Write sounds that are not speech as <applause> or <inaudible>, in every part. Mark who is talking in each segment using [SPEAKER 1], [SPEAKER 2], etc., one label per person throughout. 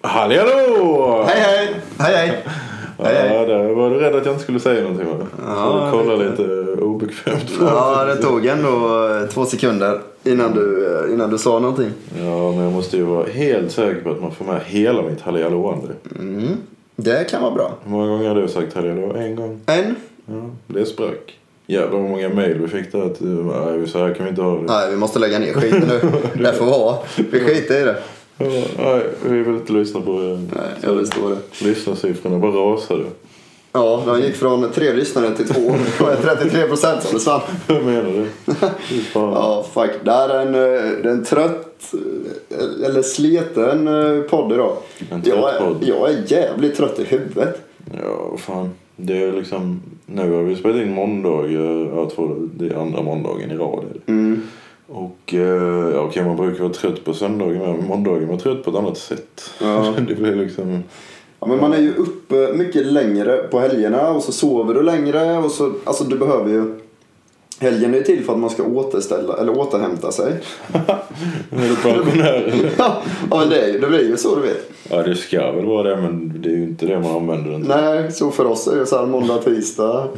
[SPEAKER 1] Halli hallå!
[SPEAKER 2] Hej hej! Hej hej! Hej, hej.
[SPEAKER 1] Ja, där var du rädd att jag inte skulle säga någonting va?
[SPEAKER 2] Ja,
[SPEAKER 1] Så du kollar lite obekvämt på
[SPEAKER 2] Ja,
[SPEAKER 1] mig.
[SPEAKER 2] det tog ändå eh, två sekunder innan du, eh, innan du sa någonting.
[SPEAKER 1] Ja, men jag måste ju vara helt säker på att man får med hela mitt halli hallåande.
[SPEAKER 2] Mm. Det kan vara bra.
[SPEAKER 1] Hur många gånger har du sagt halli hallå? En gång?
[SPEAKER 2] En?
[SPEAKER 1] Ja, det sprack. Jävlar vad många mejl vi fick där. Att, eh, nej, så här kan vi inte ha det.
[SPEAKER 2] Nej, vi måste lägga ner skiten nu. <laughs> Det får vara. Vi skiter i det.
[SPEAKER 1] Ja, nej, vi vill inte lyssna på det.
[SPEAKER 2] Nej, jag förstår det.
[SPEAKER 1] Lyssnarsiffrorna bara rasade.
[SPEAKER 2] Ja, de gick från tre lyssnare till två. Det var 33 procent som försvann.
[SPEAKER 1] <laughs> Vad menar du? Fy fan.
[SPEAKER 2] Ja, fuck. Det här är en, eh, det är en trött, eh, eller sliten eh, podd idag.
[SPEAKER 1] En trött
[SPEAKER 2] Jag är,
[SPEAKER 1] podd.
[SPEAKER 2] jag är jävligt trött i huvudet.
[SPEAKER 1] Ja, vad fan. Det är liksom... Nu har vi spelat in måndag. eh, Jag tror det är andra måndagen i rad. Är det.
[SPEAKER 2] Mm.
[SPEAKER 1] Och eh, ja, okej, man brukar vara trött på söndagen men måndagen är man trött på ett annat sätt.
[SPEAKER 2] Ja.
[SPEAKER 1] <laughs> det blir liksom...
[SPEAKER 2] Ja, men man är ju uppe mycket längre på helgerna och så sover du längre. Och så, alltså du behöver ju... Helgen är ju till för att man ska återställa eller återhämta sig. <laughs>
[SPEAKER 1] Är du pensionär eller?
[SPEAKER 2] ja, men det, är ju, det blir ju så du vet.
[SPEAKER 1] Ja, det ska väl vara det men det är ju inte det man använder den till.
[SPEAKER 2] Nej, så för oss är det så här måndag, tisdag.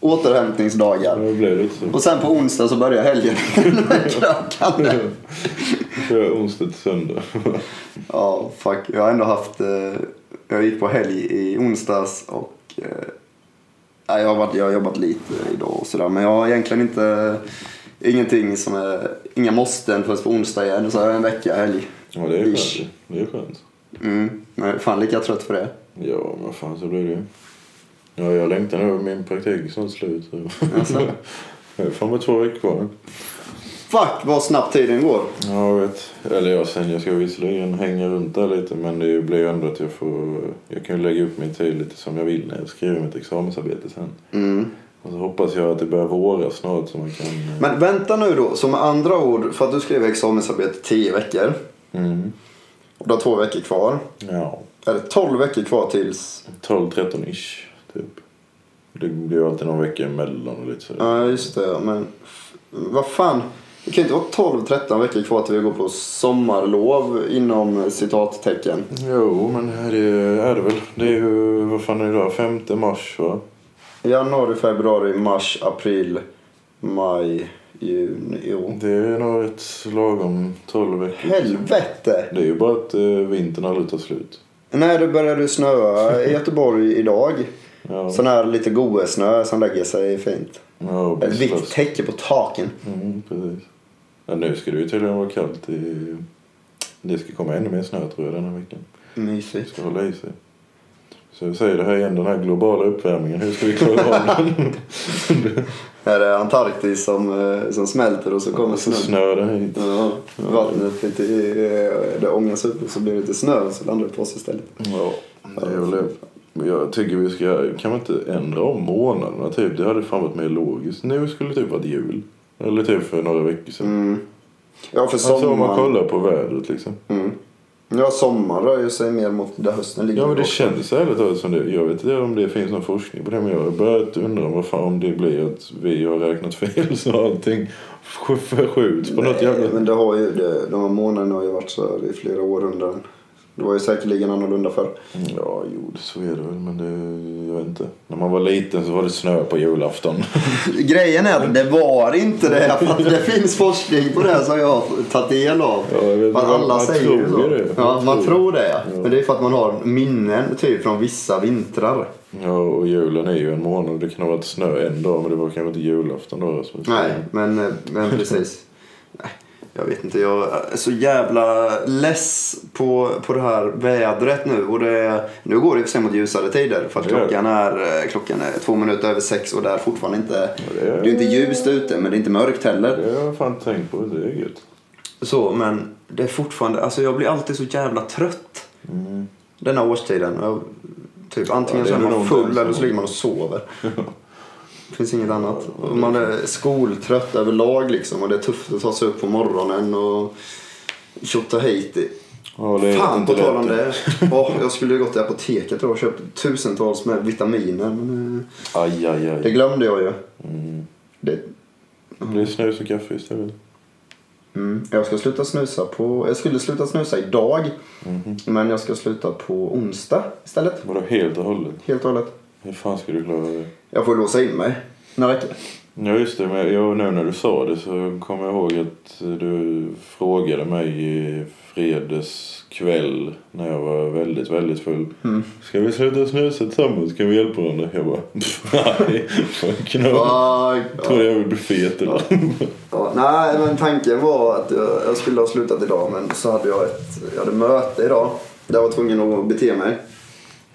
[SPEAKER 2] Återhämtningsdagar.
[SPEAKER 1] Ja, Det blir lite så.
[SPEAKER 2] Och sen på onsdag så börjar helgen.
[SPEAKER 1] <laughs>
[SPEAKER 2] Krökande.
[SPEAKER 1] Kör onsdag till söndag.
[SPEAKER 2] Ja, fuck. Jag har ändå haft... Eh, jag gick på helg i onsdags och... Eh, nej, jag, har varit, jag har jobbat lite idag och sådär. Men jag har egentligen inte... Ingenting som är... Inga måsten förrän på onsdag igen. Så har jag en vecka helg.
[SPEAKER 1] Ja, det är
[SPEAKER 2] Ish.
[SPEAKER 1] skönt. Det är skönt.
[SPEAKER 2] Mm, men jag är fan lika trött för det.
[SPEAKER 1] Ja, men fan så blir det ju. Ja, jag längtar nu. Min praktik är snart slut. så.
[SPEAKER 2] Jaså?
[SPEAKER 1] <laughs> Det är fan bara två veckor kvar.
[SPEAKER 2] Fuck vad snabbt tiden går.
[SPEAKER 1] Ja, jag vet. Eller ja, sen jag ska visserligen hänga runt där lite men det blir ju ändå att jag får... Jag kan ju lägga upp min tid lite som jag vill när jag skriver mitt examensarbete sen.
[SPEAKER 2] Mm.
[SPEAKER 1] Och så hoppas jag att det börjar våra snart så man kan... eh,
[SPEAKER 2] Men vänta nu då. Så med andra ord, för att du skrev examensarbete 10 veckor.
[SPEAKER 1] Mm.
[SPEAKER 2] Och du har två veckor kvar.
[SPEAKER 1] Ja,
[SPEAKER 2] Eller 12 veckor kvar tills...
[SPEAKER 1] 12-13-ish typ. Det blir ju alltid någon vecka emellan och lite så.
[SPEAKER 2] Ja, just det. Men f- vad fan. Det kan ju inte vara 12-13 veckor kvar till vi går på sommarlov inom citattecken.
[SPEAKER 1] Jo, men det är, är det väl. Det är ju... Vad fan är det idag? 5 mars va?
[SPEAKER 2] Januari, februari, mars, april, maj, juni. Jo.
[SPEAKER 1] Det är nog ett lagom 12 veckor.
[SPEAKER 2] Helvete!
[SPEAKER 1] Det är ju bara att eh, vintern aldrig tar slut.
[SPEAKER 2] När det började snöa i Göteborg idag.
[SPEAKER 1] Ja,
[SPEAKER 2] Sån här lite goesnö som lägger sig fint.
[SPEAKER 1] ja
[SPEAKER 2] Ett vitt
[SPEAKER 1] visst.
[SPEAKER 2] täcke på taken.
[SPEAKER 1] Mm, precis. Ja, nu ska det ju tydligen vara kallt. I... Det ska komma ännu mer snö tror jag den här veckan. Det
[SPEAKER 2] Mysigt.
[SPEAKER 1] ska hålla i sig. Så jag säger det här igen, den här globala uppvärmningen. Hur ska vi klara av <laughs> den?
[SPEAKER 2] Här är Antarktis som, eh, som smälter och så kommer
[SPEAKER 1] Och så
[SPEAKER 2] snön.
[SPEAKER 1] snör den hit.
[SPEAKER 2] Ja, vattnet lite, eh, det ångas upp och så blir det lite snö och så landar det på oss istället.
[SPEAKER 1] Ja, det är väl det. Men Jag tycker vi ska, kan man inte ändra om månaderna typ? Det hade fan varit mer logiskt. Nu skulle det typ varit jul. Eller typ för några veckor sedan.
[SPEAKER 2] Mm. Ja, för
[SPEAKER 1] Alltså om man
[SPEAKER 2] sommaren.
[SPEAKER 1] kollar på vädret liksom.
[SPEAKER 2] Mm. Ja, sommar rör ju sig mer mot där hösten ligger.
[SPEAKER 1] Ja men det
[SPEAKER 2] då.
[SPEAKER 1] kändes ärligt talat som det. Jag vet inte om det finns någon forskning på det men jag har börjat undra vad fan om det blir att vi har räknat fel så allting sk- förskjuts på något
[SPEAKER 2] Nej,
[SPEAKER 1] jävla...
[SPEAKER 2] men det har ju det. De här månaderna har ju varit så här i flera århundraden. Det var ju säkerligen annorlunda förr.
[SPEAKER 1] Ja jo det- så är det väl men det, jag vet inte. När man var liten så var det snö på julafton.
[SPEAKER 2] <laughs>
[SPEAKER 1] <laughs>
[SPEAKER 2] Grejen är att det var inte det. För att det finns forskning på det här som jag har tagit del av.
[SPEAKER 1] Ja, jag vet inte,
[SPEAKER 2] För
[SPEAKER 1] man-
[SPEAKER 2] alla
[SPEAKER 1] man
[SPEAKER 2] säger
[SPEAKER 1] tror
[SPEAKER 2] ju så.
[SPEAKER 1] det.
[SPEAKER 2] Ja,
[SPEAKER 1] Man
[SPEAKER 2] man
[SPEAKER 1] tror.
[SPEAKER 2] tror det ja. Men det är för att man har minnen typ från vissa vintrar.
[SPEAKER 1] ja och julen är ju en månad. Det kan ha varit snö en dag men det var kanske inte julafton då. Rasmus.
[SPEAKER 2] Nej, men, eh, men precis. Nej, jag vet inte, jag är så jävla less på, på det här vädret nu. Och det, nu går det i och för sig mot ljusare tider för att
[SPEAKER 1] Det gör det.
[SPEAKER 2] klockan är, eh, klockan är två minuter över sex och det är fortfarande inte...
[SPEAKER 1] det är-
[SPEAKER 2] Det är inte ljust ute men det är inte mörkt heller.
[SPEAKER 1] Det har jag fan inte tänkt på. Det är gött.
[SPEAKER 2] Så, men det är fortfarande... Alltså jag blir alltid så jävla trött
[SPEAKER 1] Mm.
[SPEAKER 2] denna årstiden. Jag, typ, antingen
[SPEAKER 1] Ja, det
[SPEAKER 2] så
[SPEAKER 1] är
[SPEAKER 2] är man
[SPEAKER 1] nog
[SPEAKER 2] full
[SPEAKER 1] den
[SPEAKER 2] eller så
[SPEAKER 1] som-
[SPEAKER 2] ligger man
[SPEAKER 1] <laughs>
[SPEAKER 2] och sover. Det finns inget annat. Och Man är skoltrött överlag liksom och det är tufft att ta sig upp på morgonen och tjotta hit.
[SPEAKER 1] Ja, det är
[SPEAKER 2] Fan,
[SPEAKER 1] inte
[SPEAKER 2] på tal om
[SPEAKER 1] lätt.
[SPEAKER 2] det.
[SPEAKER 1] <laughs>
[SPEAKER 2] Ja, jag skulle ju gått till apoteket då och köpt tusentals med vitaminer. Men eh,
[SPEAKER 1] Aj, aj,
[SPEAKER 2] det
[SPEAKER 1] aj.
[SPEAKER 2] glömde jag ju.
[SPEAKER 1] Mm.
[SPEAKER 2] Det,
[SPEAKER 1] Det är snus och kaffe istället.
[SPEAKER 2] Mm. Jag ska sluta snusa på... Jag skulle sluta snusa idag.
[SPEAKER 1] Mhm.
[SPEAKER 2] Men jag ska sluta på onsdag istället.
[SPEAKER 1] Vadå helt och hållet?
[SPEAKER 2] Helt och hållet.
[SPEAKER 1] Hur fan ska du klara det?
[SPEAKER 2] Jag får låsa in mig. Några veckor.
[SPEAKER 1] Ja just det, men jag, nu när du sa det så kom jag ihåg att du frågade mig i fredags kväll när jag var väldigt, väldigt full. Ska vi sluta snusa tillsammans? Kan vi hjälpa varandra? Jag bara, <laughs> "Pff, nej, fuck no.
[SPEAKER 2] Fuck.
[SPEAKER 1] Tror jag vill bli fet eller?
[SPEAKER 2] Ja, nej, men tanken var att jag, jag skulle ha slutat idag men så hade jag ett jag hade möte idag där jag var tvungen att bete mig.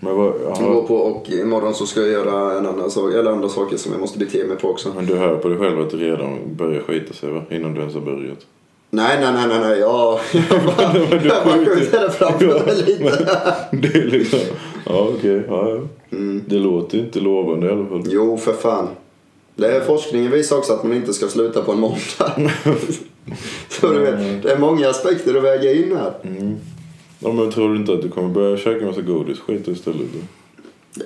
[SPEAKER 1] Men, vad,
[SPEAKER 2] Gå
[SPEAKER 1] jaha,
[SPEAKER 2] på och imorgon så ska jag göra en annan sak, eller andra saker som jag måste bete mig på också.
[SPEAKER 1] men du hör på dig själv att du redan börjar skita sig va? Innan du ens har börjat. <laughs>
[SPEAKER 2] Nej, nej, nej, nej, nej. Jag, jag bara,
[SPEAKER 1] Men du
[SPEAKER 2] jag bara
[SPEAKER 1] skjuter.
[SPEAKER 2] skjuter det framför mig lite.
[SPEAKER 1] <laughs> Men det är liksom, ja okej. ja, ja. Det låter ju inte lovande i alla fall.
[SPEAKER 2] Jo, för fan. Det är forskningen visar också att man inte ska sluta på en måndag. <laughs> så du vet, det är många aspekter att väga in här.
[SPEAKER 1] Ja, men tror du inte att du kommer börja käka massa godis? Skit istället då.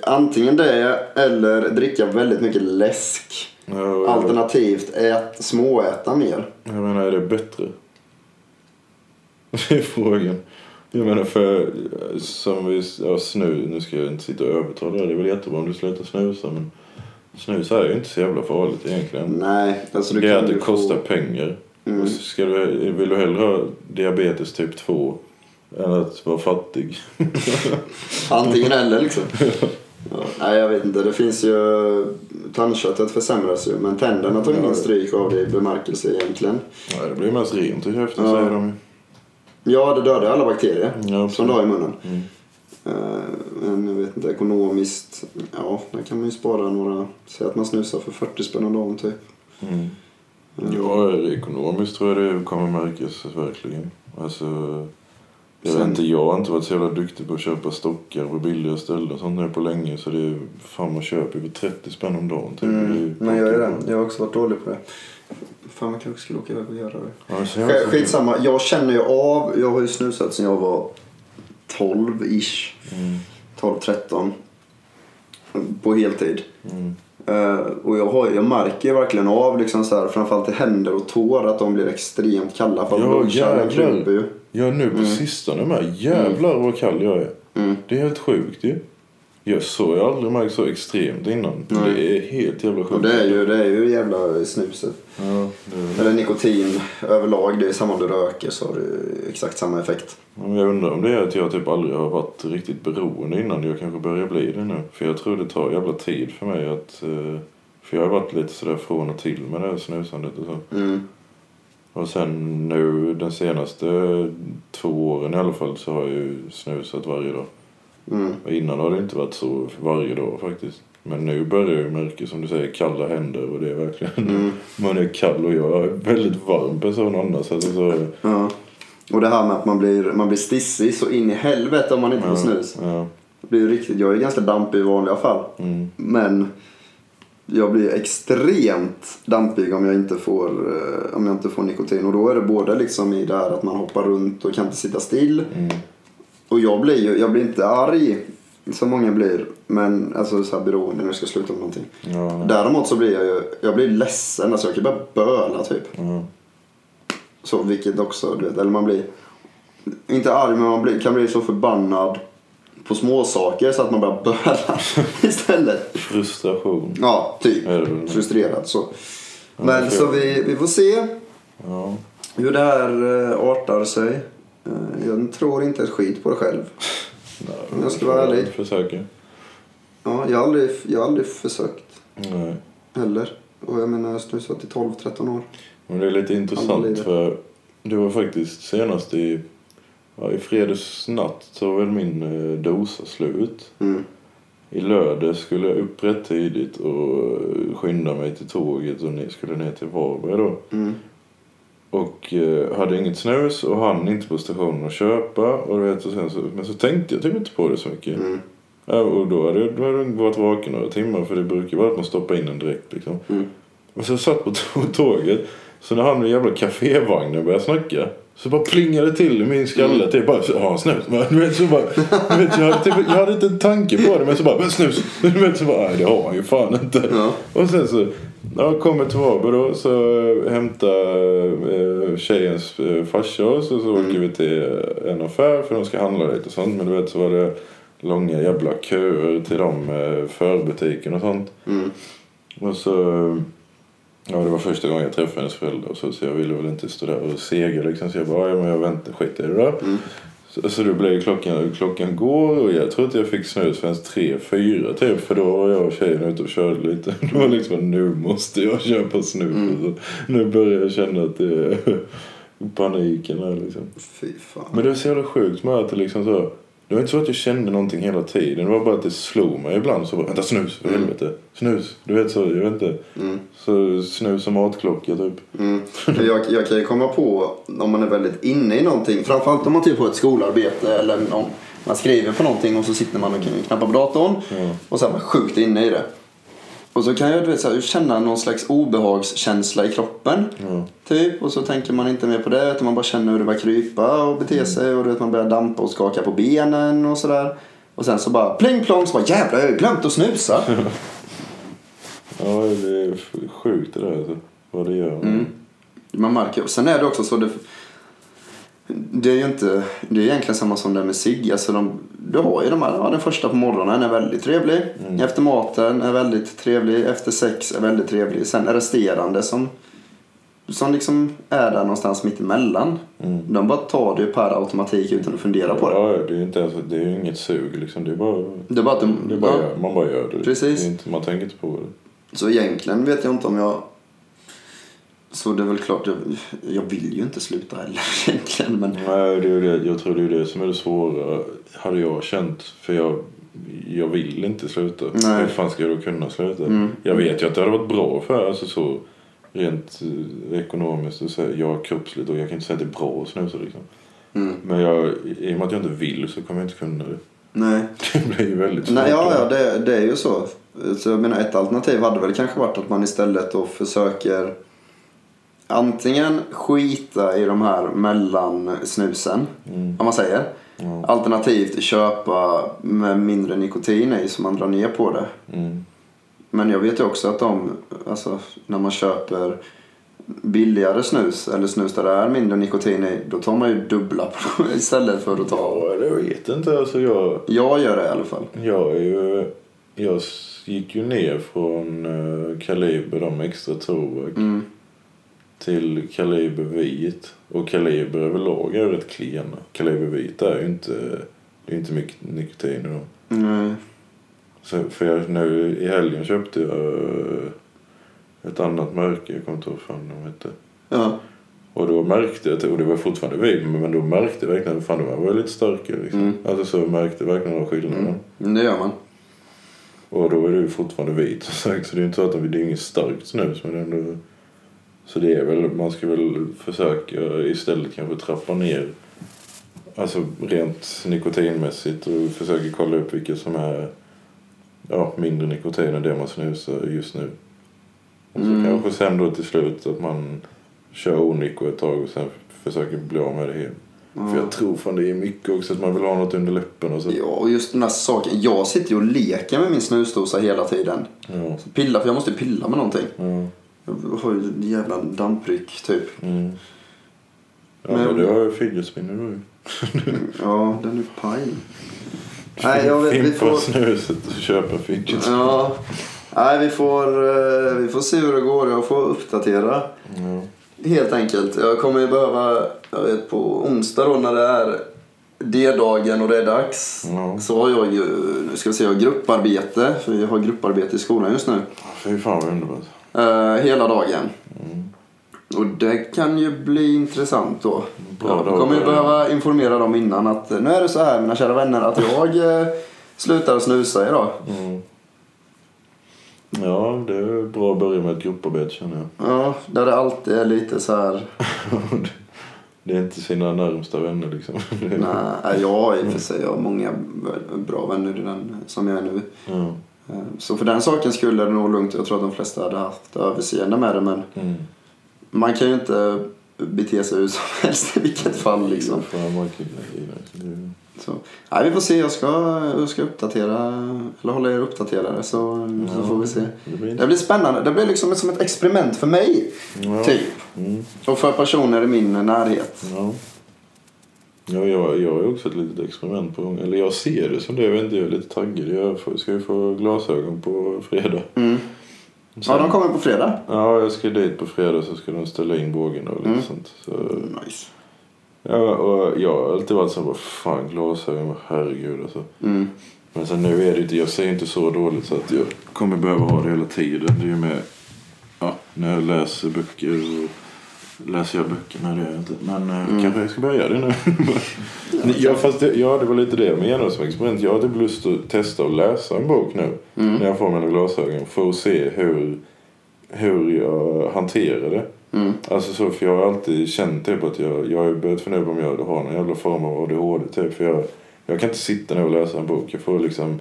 [SPEAKER 2] Antingen det eller dricka väldigt mycket läsk.
[SPEAKER 1] Ja, jag,
[SPEAKER 2] Alternativt ät, småäta mer.
[SPEAKER 1] jag menar, är det bättre? Det är frågan. Jag menar för, som vi, ja snu, nu ska jag inte sitta och övertala dig. Det är väl jättebra om du slutar snusa men snus är ju inte så jävla farligt egentligen.
[SPEAKER 2] Nej, alltså du
[SPEAKER 1] Mm, det är
[SPEAKER 2] kan
[SPEAKER 1] att det
[SPEAKER 2] ju få-
[SPEAKER 1] kostar pengar. Och så Ska du, vill du hellre ha diabetes typ 2 än att vara fattig?
[SPEAKER 2] Antingen eller liksom. Ja, nej, jag vet inte. Det finns ju... Tandköttet försämras ju, men tänderna tar ingen stryk av det i bemärkelse egentligen.
[SPEAKER 1] Nej, det blir mest rent i käften
[SPEAKER 2] Ja.
[SPEAKER 1] säger de ju.
[SPEAKER 2] Ja, det dödar alla bakterier
[SPEAKER 1] Ja,
[SPEAKER 2] som du har i munnen.
[SPEAKER 1] Mm.
[SPEAKER 2] Eh, Men jag vet inte, ekonomiskt, ja, där kan man ju spara några, säg att man snusar för 40 spänn om dagen typ. Eh,
[SPEAKER 1] Mm. Ja, ekonomiskt tror jag det kommer märkas verkligen. Alltså, jag vet
[SPEAKER 2] Sen-
[SPEAKER 1] inte, jag har inte varit så jävla duktig på att köpa stockar på billiga ställen och sånt där på länge. Så det är fan man köper för 30 spänn om dagen. Typ.
[SPEAKER 2] Mm, men jag är det.
[SPEAKER 1] det.
[SPEAKER 2] Jag har också varit dålig på det. Fan, man kanske skulle åka iväg och göra det.
[SPEAKER 1] Ja, så
[SPEAKER 2] Sk-
[SPEAKER 1] jag,
[SPEAKER 2] Skitsamma, jag känner ju av, jag har ju snusat sedan jag var 12-ish.
[SPEAKER 1] Mm.
[SPEAKER 2] 12-13. På heltid.
[SPEAKER 1] Mm.
[SPEAKER 2] Eh, och jag, har, jag märker ju verkligen av, liksom så här, framförallt i händer och tår, att de blir extremt kalla. För att
[SPEAKER 1] Ja,
[SPEAKER 2] blodkärlen
[SPEAKER 1] jävlar.
[SPEAKER 2] krymper ju.
[SPEAKER 1] jag är nu på sistone med. Jävlar vad kall jag är.
[SPEAKER 2] Mm.
[SPEAKER 1] Det är helt sjukt ju. Jag såg jag har aldrig märkt så extremt innan.
[SPEAKER 2] Nej.
[SPEAKER 1] Det är helt jävla sjukt.
[SPEAKER 2] Och det är ju, det är ju jävla snuset.
[SPEAKER 1] Ja, det är...
[SPEAKER 2] Eller nikotin överlag, det är samma om du röker så har du exakt samma effekt.
[SPEAKER 1] Ja, men Jag undrar om det är att jag typ aldrig har varit riktigt beroende innan. Jag kanske börjar bli det nu. För jag tror det tar jävla tid för mig att... eh, För jag har varit lite sådär från och till med det här snusandet och så.
[SPEAKER 2] Mm.
[SPEAKER 1] Och sen nu den senaste två åren i alla fall så har jag ju snusat varje dag.
[SPEAKER 2] Mm.
[SPEAKER 1] Och innan har det inte varit så varje dag faktiskt. Men nu börjar jag ju märka som du säger kalla händer och det är verkligen...
[SPEAKER 2] Mm.
[SPEAKER 1] <laughs> Man är kall och jag är en väldigt varm person annars. Alltså så...
[SPEAKER 2] Ja. Och det här med att man blir, man blir stissig så in i helvete om man inte får snus.
[SPEAKER 1] Ja.
[SPEAKER 2] Det blir ju riktigt, jag är ganska dampig i vanliga fall.
[SPEAKER 1] Mm.
[SPEAKER 2] Men jag blir extremt dampig om jag inte får, eh, om jag inte får nikotin. Och då är det både liksom i det här att man hoppar runt och kan inte sitta still.
[SPEAKER 1] Mm.
[SPEAKER 2] Och jag blir ju, jag blir inte arg som många blir. Men alltså så här beroende när jag ska sluta med någonting.
[SPEAKER 1] Ja.
[SPEAKER 2] Däremot så blir jag ju, jag blir ledsen. Alltså jag kan börja böla typ.
[SPEAKER 1] Ja.
[SPEAKER 2] Så vilket också, du vet, eller man blir, inte arg men man blir, kan bli så förbannad på små saker så att man börjar böla <laughs> istället.
[SPEAKER 1] Frustration.
[SPEAKER 2] Ja, typ.
[SPEAKER 1] Är det väl.
[SPEAKER 2] Frustrerad så.
[SPEAKER 1] det
[SPEAKER 2] Men
[SPEAKER 1] tror
[SPEAKER 2] så
[SPEAKER 1] jag.
[SPEAKER 2] vi, vi får se
[SPEAKER 1] Ja.
[SPEAKER 2] hur det här eh, artar sig. Eh, Jag tror inte ett skit på det själv.
[SPEAKER 1] Nej,
[SPEAKER 2] Jag ska vara ärlig.
[SPEAKER 1] Försöker.
[SPEAKER 2] Ja, jag, har aldrig, jag har aldrig försökt
[SPEAKER 1] Nej.
[SPEAKER 2] heller. Och jag menar, jag har snusat i 12-13 år.
[SPEAKER 1] Men det är lite
[SPEAKER 2] Aldrig
[SPEAKER 1] intressant
[SPEAKER 2] det.
[SPEAKER 1] för det var faktiskt senast i, ja, i fredags natt så var väl min eh, dosa slut.
[SPEAKER 2] Mm.
[SPEAKER 1] I lördag skulle jag upp rätt tidigt och eh, skynda mig till tåget och ni skulle ner till Varberg då.
[SPEAKER 2] Mm.
[SPEAKER 1] Och eh, hade inget snus och hann inte på stationen att köpa. Och du vet, och sen så, men så tänkte jag typ inte på det så mycket.
[SPEAKER 2] Mm.
[SPEAKER 1] Ja, och då hade jag då hade jag varit vaken några timmar för det brukar ju vara att man stoppar in den direkt liksom.
[SPEAKER 2] Mm.
[SPEAKER 1] Och så jag satt på t- <laughs> tåget. Så när han med jävla kafévagnen började snacka. Så bara plingade det till i min skalle.
[SPEAKER 2] Mm.
[SPEAKER 1] Typ bara, har han snus? Men, du vet, så bara, du vet, jag, hade typ, jag <laughs> hade inte en tanke på det. Men så bara, men snus? Du vet, så bara, nej det har han ju fan inte.
[SPEAKER 2] Ja.
[SPEAKER 1] Och sen så Ja, kommer till Varberg då så hämtar eh, tjejens eh, farsa oss och så åker vi till eh, en affär för de ska handla lite och sånt. Men du vet så var det långa jävla köer till de eh, förbutiken och sånt.
[SPEAKER 2] Mm.
[SPEAKER 1] Och så... Ja, det var första gången jag träffade hennes föräldrar och så, så jag ville väl inte stå där och sega liksom. Så jag bara, ja men jag väntar, skit i det då.
[SPEAKER 2] Mm.
[SPEAKER 1] Så, så det blev klockan, klockan går och jag tror att jag fick snus förrän tre, fyra typ. För då var jag och tjejen ute och körde lite. <laughs> Det var liksom, nu måste jag köpa snus.
[SPEAKER 2] Mm.
[SPEAKER 1] Så, nu börjar jag känna att det är <laughs> paniken här liksom.
[SPEAKER 2] Fy fan.
[SPEAKER 1] Men det var så jävla sjukt med att det liksom så... Det var inte så att jag kände någonting hela tiden. Det var bara att det slog mig ibland. Så bara, vänta snus, för helvete. Snus. Du vet så, jag vet inte.
[SPEAKER 2] Mm.
[SPEAKER 1] Så snus och matklocka typ.
[SPEAKER 2] Mm. För Jag, jag kan ju komma på om man är väldigt inne i någonting. Framförallt om man typ har ett skolarbete eller någon, man skriver på någonting och så sitter man och knappar på datorn.
[SPEAKER 1] Ja.
[SPEAKER 2] Och så är man sjukt inne i det. Och så kan jag du vet, så här, känna någon slags obehagskänsla i kroppen.
[SPEAKER 1] Ja.
[SPEAKER 2] Typ. Och så tänker man inte mer på det utan man bara känner hur det börjar krypa och bete sig. Och du vet, man börjar dampa och skaka på benen och sådär. Och sen så bara pling plong så bara jävlar jag har ju glömt att snusa.
[SPEAKER 1] Ja, det är f- sjukt det där alltså. Vad det gör.
[SPEAKER 2] Mm. Man märker ju. Sen är det också så. Det, det är ju inte. Det är egentligen samma som det med cigg. Alltså de, du har ju de här. Ja, den första på morgonen är väldigt trevlig.
[SPEAKER 1] Mm.
[SPEAKER 2] Efter maten är väldigt trevlig. Efter sex är väldigt trevlig. Sen resterande som. Som liksom är där någonstans mitt emellan.
[SPEAKER 1] Mm.
[SPEAKER 2] De bara tar det ju per automatik utan att fundera på det.
[SPEAKER 1] Ja, det är ju inte ens, det är ju inget sug liksom. Det är bara...
[SPEAKER 2] Det är bara att de,
[SPEAKER 1] Det är bara
[SPEAKER 2] ja.
[SPEAKER 1] gör, man bara gör det.
[SPEAKER 2] Precis.
[SPEAKER 1] Det är inte, man tänker inte på det.
[SPEAKER 2] Så egentligen vet jag inte om jag... Så det är väl klart, jag, jag vill ju inte sluta heller <laughs> egentligen. Men
[SPEAKER 1] Nej, det är ju det. Jag tror det är det som är det svåra. Hade jag känt. För jag, jag vill inte sluta.
[SPEAKER 2] Nej.
[SPEAKER 1] Hur fan ska jag då kunna sluta? Jag vet ju att det hade varit bra för alltså så rent eh, ekonomiskt och så här, jag kroppsligt och jag kan inte säga att det är bra att snusa liksom.
[SPEAKER 2] Mm.
[SPEAKER 1] Men jag, i och med att jag inte vill så kommer jag inte kunna det. <laughs>
[SPEAKER 2] nej.
[SPEAKER 1] Det blir ju väldigt svårt.
[SPEAKER 2] Nej, ja, ja det, det är ju så. så jag menar, ett alternativ hade väl kanske varit att man istället då försöker antingen skita i de här mellansnusen,
[SPEAKER 1] Mm.
[SPEAKER 2] om man säger.
[SPEAKER 1] Ja.
[SPEAKER 2] Alternativt köpa med mindre nikotin i så man drar ner på det.
[SPEAKER 1] Mm.
[SPEAKER 2] Men jag vet ju också att de, alltså när man köper billigare snus eller snus där det är mindre nikotin i, då tar man ju dubbla på dem <laughs> istället för att ta...
[SPEAKER 1] Ja, jag vet inte. Alltså jag...
[SPEAKER 2] Jag gör det i alla fall.
[SPEAKER 1] Jag, är ju, jag s- gick ju ner från eh, Kaliber de extra tobak
[SPEAKER 2] Mm.
[SPEAKER 1] till Kaliber vit. Och Kaliber överlag är ju rätt klena. Kaliber vit är ju inte, det är inte mycket nikotin i dem.
[SPEAKER 2] Mm.
[SPEAKER 1] Så, för jag, nu i helgen köpte jag eh, ett annat märke, jag kommer inte ihåg vad fan de hette.
[SPEAKER 2] Ja.
[SPEAKER 1] Och då märkte jag, att- och det var fortfarande vit, men då märkte jag verkligen att fan de här var ju lite starkare. Liksom.
[SPEAKER 2] Mm.
[SPEAKER 1] Alltså så jag märkte verkligen av skillnaden.
[SPEAKER 2] Mm, Det gör man.
[SPEAKER 1] Och då är det ju fortfarande vit som sagt. Så det är inte så att de- det är inget starkt snus. Men det är ändå... Så det är väl, man ska väl försöka istället kanske trappa ner. Alltså rent nikotinmässigt och försöka kolla upp vilka som är ja, mindre nikotin än det man snusar just nu. Och så
[SPEAKER 2] Mm.
[SPEAKER 1] kanske sen då till slut att man kör oniko ett tag och sen försöker bli av med det helt. För jag tror fan det är mycket också att man vill ha något under läppen och så.
[SPEAKER 2] Ja, och just den här saken. Jag sitter ju och leker med min snusdosa hela tiden.
[SPEAKER 1] Ja.
[SPEAKER 2] Så pilla, för jag måste ju pilla med någonting.
[SPEAKER 1] Ja.
[SPEAKER 2] Jag har ju en jävla dampryck typ.
[SPEAKER 1] Mm. Ja,
[SPEAKER 2] Men-
[SPEAKER 1] men du har ju fidget spinner nu.
[SPEAKER 2] Ja, den är paj. Nej, jag vet, vi
[SPEAKER 1] Fimpa
[SPEAKER 2] får...
[SPEAKER 1] snuset och köpa fidget spinner.
[SPEAKER 2] Ja. Nej, vi får, eh, vi får se hur det går. Jag får uppdatera.
[SPEAKER 1] Ja.
[SPEAKER 2] Helt enkelt. Jag kommer ju behöva, jag vet på onsdag då när det är D-dagen och det är dags.
[SPEAKER 1] Ja.
[SPEAKER 2] Så har jag ju, nu ska vi se, jag har grupparbete. För jag har grupparbete i skolan just nu.
[SPEAKER 1] Fy fan vad underbart.
[SPEAKER 2] Eh, hela dagen. Och det kan ju bli intressant då.
[SPEAKER 1] Bra
[SPEAKER 2] jag
[SPEAKER 1] dag,
[SPEAKER 2] kommer ju
[SPEAKER 1] ja.
[SPEAKER 2] behöva informera dem innan att eh, nu är det så här mina kära vänner att jag eh, slutar snusa idag.
[SPEAKER 1] Mm. Ja, det är bra att börja med ett grupparbete känner jag. <laughs>
[SPEAKER 2] Ja, där det alltid är lite så här.
[SPEAKER 1] Det är inte sina närmsta vänner liksom. <laughs>
[SPEAKER 2] Nej, jag har i och för sig jag har många bra vänner i den som jag är nu.
[SPEAKER 1] Ja.
[SPEAKER 2] Eh, Så för den saken skulle det nog lugnt. Jag tror att de flesta hade haft överseende med det men
[SPEAKER 1] Mm.
[SPEAKER 2] man kan ju inte bete sig hur som <laughs> helst i vilket fall liksom.
[SPEAKER 1] Fan, man kan- nej, nej, det-
[SPEAKER 2] Så. Nej, vi får se, jag ska, jag ska uppdatera, eller hålla er uppdaterade så, så får vi se. Typ.
[SPEAKER 1] det blir-
[SPEAKER 2] Det blir spännande, det blir liksom som ett experiment för mig.
[SPEAKER 1] Ja.
[SPEAKER 2] Typ.
[SPEAKER 1] Mm,
[SPEAKER 2] Och för personer i min närhet.
[SPEAKER 1] ja. Ja, jag, jag har ju också ett litet experiment på gång. Eller jag ser det som det. Jag vet inte, jag är lite taggad. Jag får, ska ju få glasögon på fredag.
[SPEAKER 2] Mm. Ja, de kommer på fredag.
[SPEAKER 1] Ja, jag ska dit på fredag så ska de ställa in bågen och lite
[SPEAKER 2] Mm.
[SPEAKER 1] sånt. Så,
[SPEAKER 2] Nice.
[SPEAKER 1] ja, och jag har alltid varit så här, bara, fan glasögon, herregud alltså.
[SPEAKER 2] Mm.
[SPEAKER 1] Men sen nu är det ju inte, jag ser inte så dåligt så att jag kommer behöva ha det hela tiden. Det är ju med, ja, när jag läser böcker och läser jag böcker, nej det gör jag inte. Men eh, kanske jag ska börja göra det nu. Nej, ja, fast det, ja, det var lite det jag menade som experiment. Jag har typ lust att testa att läsa en bok nu. När jag får mina glasögon. För att se hur, hur jag hanterar det.
[SPEAKER 2] Mm.
[SPEAKER 1] Alltså så, för jag har alltid känt typ att jag, jag har ju börjat fundera på om jag har någon jävla form av ADHD typ. För jag, jag kan inte sitta ner och läsa en bok. Jag får liksom,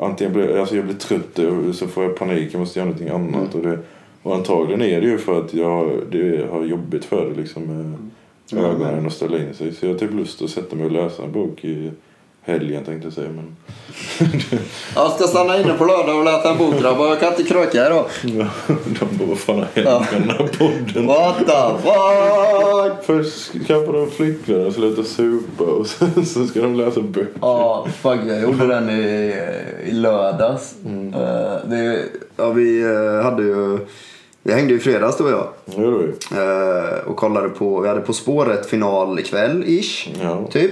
[SPEAKER 1] antingen blir, alltså jag blir trött och så får jag panik, jag måste göra någonting annat. Och, det, och antagligen är det ju för att jag har- det har jobbigt för det liksom. Med
[SPEAKER 2] Ja, men-
[SPEAKER 1] ögonen och ställa in sig. Så jag har typ lust att sätta mig och läsa en bok i helgen tänkte jag säga. Men...
[SPEAKER 2] Jag ska stanna inne på lördag och läsa en bok grabbar. Jag kan inte kröka idag.
[SPEAKER 1] <laughs> De bara, vad fan har hänt med den här podden?
[SPEAKER 2] What the fuck?
[SPEAKER 1] Först skaffar de flickvän och slutar supa och sen så ska de läsa böcker.
[SPEAKER 2] Ja, fuck jag gjorde den i, i lördags. Eh, det, ja, vi eh, hade ju... Vi hängde ju i fredags du och jag.
[SPEAKER 1] Ja, det var ju.
[SPEAKER 2] Eh, och kollade på, vi hade På spåret final ikväll ish.
[SPEAKER 1] Ja. Mm.
[SPEAKER 2] Typ.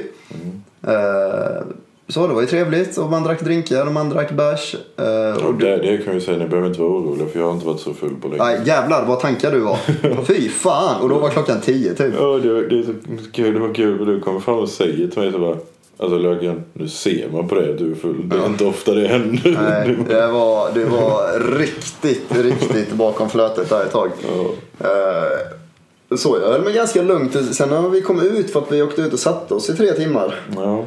[SPEAKER 2] Eh, så det var ju trevligt och man drack drinkar och man drack bärs. Eh,
[SPEAKER 1] Ja,
[SPEAKER 2] och
[SPEAKER 1] det, det kan vi säga, ni behöver inte vara oroliga för jag har inte varit så full på länge.
[SPEAKER 2] Nej jävlar vad tankar
[SPEAKER 1] <laughs>
[SPEAKER 2] du var. Fy fan. Och då var klockan tio typ.
[SPEAKER 1] Ja, det, var- det är så kul, det var kul för du kommer fram och säger till mig så bara Alltså Löken, nu ser man på dig att du är full. Det är inte ofta det händer.
[SPEAKER 2] Nej,
[SPEAKER 1] Du bara,
[SPEAKER 2] det var, det var riktigt, riktigt bakom flötet där ett tag.
[SPEAKER 1] Ja.
[SPEAKER 2] Eh, så jag höll mig ganska lugnt. Sen när vi kom ut för att vi åkte ut och satte oss i tre timmar.
[SPEAKER 1] Ja.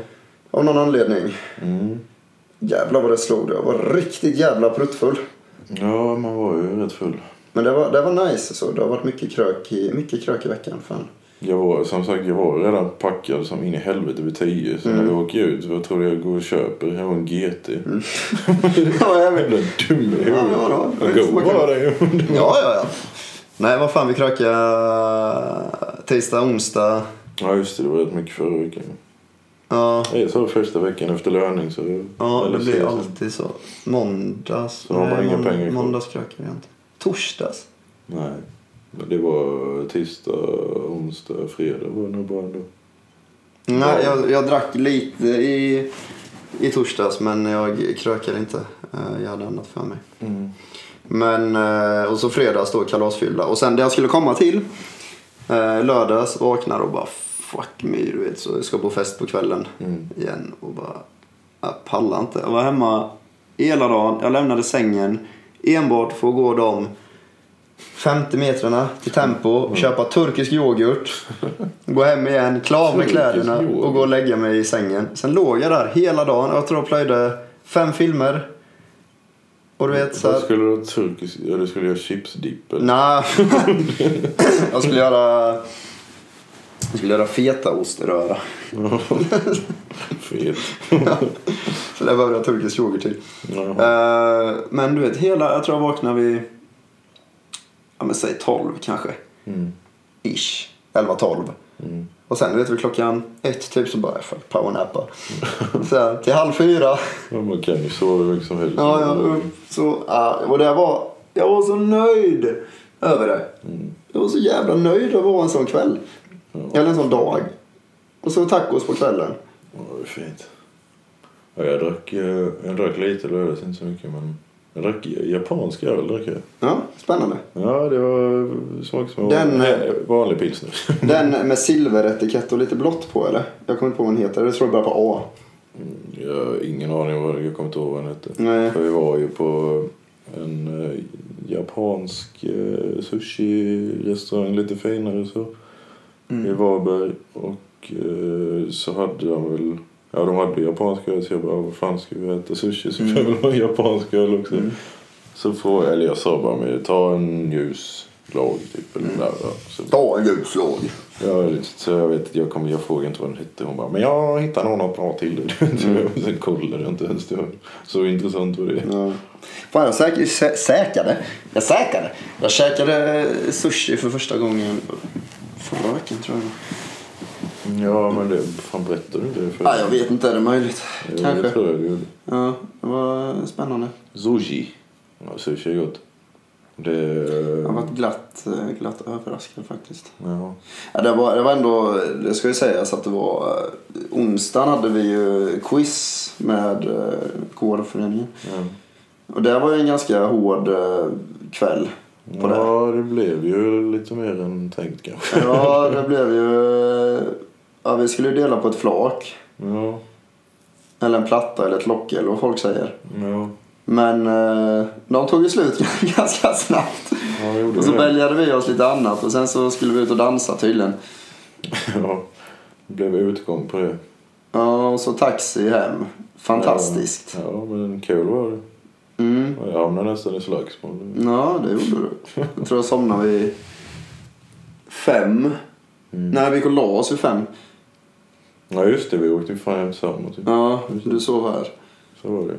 [SPEAKER 2] Av någon anledning. Jävlar vad det slog. Jag var riktigt jävla pruttfull.
[SPEAKER 1] ja, man var ju rätt full.
[SPEAKER 2] Men det var, det var nice. Så. Det har varit mycket krök i, mycket krök i veckan. Fan.
[SPEAKER 1] Jag var, som sagt, jag var redan packad som in i helvete vid tio. Så
[SPEAKER 2] Mm.
[SPEAKER 1] när vi åker ut, vad tror du jag går och köper? Jag har en GT.
[SPEAKER 2] ja, jag vet.
[SPEAKER 1] Jävla dum i huvudet.
[SPEAKER 2] Mm. Ja, ja, ja.
[SPEAKER 1] Go bara det.
[SPEAKER 2] ja, ja, ja. Nej, vad fan. Vi krökade tisdag, onsdag.
[SPEAKER 1] Ja just det, det var rätt mycket förra veckan.
[SPEAKER 2] Ja,
[SPEAKER 1] Det är så första veckan efter löning så...
[SPEAKER 2] ja det
[SPEAKER 1] eller
[SPEAKER 2] blir
[SPEAKER 1] så-
[SPEAKER 2] alltid så. Måndags. eh,
[SPEAKER 1] Så har man
[SPEAKER 2] nej,
[SPEAKER 1] inga
[SPEAKER 2] månd-
[SPEAKER 1] pengar kvar.
[SPEAKER 2] Måndags krökade vi inte. Torsdags.
[SPEAKER 1] Nej. Men Det var tisdag, onsdag, fredag var det nog bara ändå.
[SPEAKER 2] Nej, jag, jag drack lite i, i torsdags men jag krökade inte. Eh, Jag hade annat för mig. Men, eh, och så fredags då kalasfylla. Och sen det jag skulle komma till. eh, Lördags vaknar och bara fuck me du vet. Så jag ska på fest på kvällen
[SPEAKER 1] Mm.
[SPEAKER 2] igen. Och bara, jag pallar inte. Jag var hemma hela dagen. Jag lämnade sängen enbart för att gå de 50 metrarna till Tempo,
[SPEAKER 1] Mm.
[SPEAKER 2] köpa
[SPEAKER 1] <laughs>
[SPEAKER 2] turkisk yoghurt, gå hem igen, klä av mig
[SPEAKER 1] Turkisk
[SPEAKER 2] kläderna och
[SPEAKER 1] yoghurt.
[SPEAKER 2] gå och lägga mig i sängen. Sen låg jag där hela dagen. Jag tror jag plöjde fem filmer. Och du vet så här,
[SPEAKER 1] Vad skulle du ha turkisk... Ja, du skulle göra chipsdipp eller?
[SPEAKER 2] Nej. <laughs> jag skulle göra... Jag skulle göra fetaoströra. Mm.
[SPEAKER 1] <laughs> Fet.
[SPEAKER 2] Så det behöver jag turkisk yoghurt till.
[SPEAKER 1] Jaha.
[SPEAKER 2] Eh, men du vet, hela... Jag tror jag vaknade vid... Ja men säg 12 kanske.
[SPEAKER 1] Mm.
[SPEAKER 2] Ish. 11-12.
[SPEAKER 1] Mm.
[SPEAKER 2] Och sen vet vi klockan ett typ så bara fuck powernappa.
[SPEAKER 1] <laughs>
[SPEAKER 2] Sen till halv fyra.
[SPEAKER 1] Ja, man kan ju sova hur mycket som helst.
[SPEAKER 2] Ja, ja, upp. Så, ja, och det var, jag var så nöjd över det. Jag var så jävla nöjd över att ha en sån kväll. Eller en sån dag. Och så tacos på kvällen.
[SPEAKER 1] Ja, det är fint. Ja, jag drack, eh, jag drack lite lördags, inte så mycket men... Jag drack japansk öl, drack jag.
[SPEAKER 2] Ja, spännande.
[SPEAKER 1] Ja, det var smak som
[SPEAKER 2] Den-
[SPEAKER 1] Nej, vanlig pilsner. <laughs>
[SPEAKER 2] Den med silveretikett och lite blått på eller? Jag kommer inte på vad den heter. Jag tror den börjar på A.
[SPEAKER 1] Jag har ingen aning vad jag kommer inte ihåg vad den hette.
[SPEAKER 2] Nej.
[SPEAKER 1] För vi var ju på en eh, japansk eh, sushi-restaurang, lite finare så. I Varberg. Och eh, så hade de väl... Ja, de hade japansk öl så jag bara, vad fan ska vi äta sushi så får jag väl ha japansk öl också. Så frågade, eller jag sa bara, men ta en ljus lag typ. Eller där, ja. så,
[SPEAKER 2] Dagens lag.
[SPEAKER 1] ja, så jag vet jag kommer jag frågade inte vad den hette. Hon bara, men jag hittar någon att prata till <laughs> dig. Mm. Sen kollade jag inte ens. Det var så intressant var det.
[SPEAKER 2] Ja. Fan, jag säk- sä- säkade. Jag säkade. Jag käkade sushi för första gången förra veckan tror jag.
[SPEAKER 1] Ja, men det, fan berättade du inte det? För,
[SPEAKER 2] Ja, jag vet inte, är det möjligt?
[SPEAKER 1] Jo, det
[SPEAKER 2] Kanske.
[SPEAKER 1] tror jag du gjorde.
[SPEAKER 2] Ja, det var spännande.
[SPEAKER 1] Sushi. Ja, sushi är gott. Det...
[SPEAKER 2] Jag har varit glatt, eh, glatt överraskad faktiskt.
[SPEAKER 1] Ja.
[SPEAKER 2] Ja, det, var, det var ändå, det ska ju sägas att det var, eh, onsdagen hade vi ju quiz med eh, kårföreningen.
[SPEAKER 1] Ja.
[SPEAKER 2] Och det var ju en ganska hård eh, kväll på det.
[SPEAKER 1] ja, det blev ju lite mer än tänkt kanske.
[SPEAKER 2] Ja, det blev ju... Ja, vi skulle ju dela på ett flak.
[SPEAKER 1] Ja,
[SPEAKER 2] Eller en platta eller ett lock eller vad folk säger.
[SPEAKER 1] ja.
[SPEAKER 2] Men eh, de tog ju slut <laughs> ganska snabbt.
[SPEAKER 1] Ja, jag gjorde
[SPEAKER 2] Och så
[SPEAKER 1] det.
[SPEAKER 2] väljade vi oss lite annat och sen så skulle vi ut och dansa tydligen.
[SPEAKER 1] <laughs> Ja, det blev utgång på det.
[SPEAKER 2] Ja, och så taxi hem. Fantastiskt.
[SPEAKER 1] Ja, ja men kul var det.
[SPEAKER 2] Mm.
[SPEAKER 1] Och Jag hamnade nästan i slagsmål.
[SPEAKER 2] Ja, det gjorde du. Jag tror jag somnade vid fem. Nej, vi gick och la oss vid fem.
[SPEAKER 1] Ja, just det. Vi åkte ju fan hem tillsammans. ju.
[SPEAKER 2] Ja, du sov här.
[SPEAKER 1] Så var det.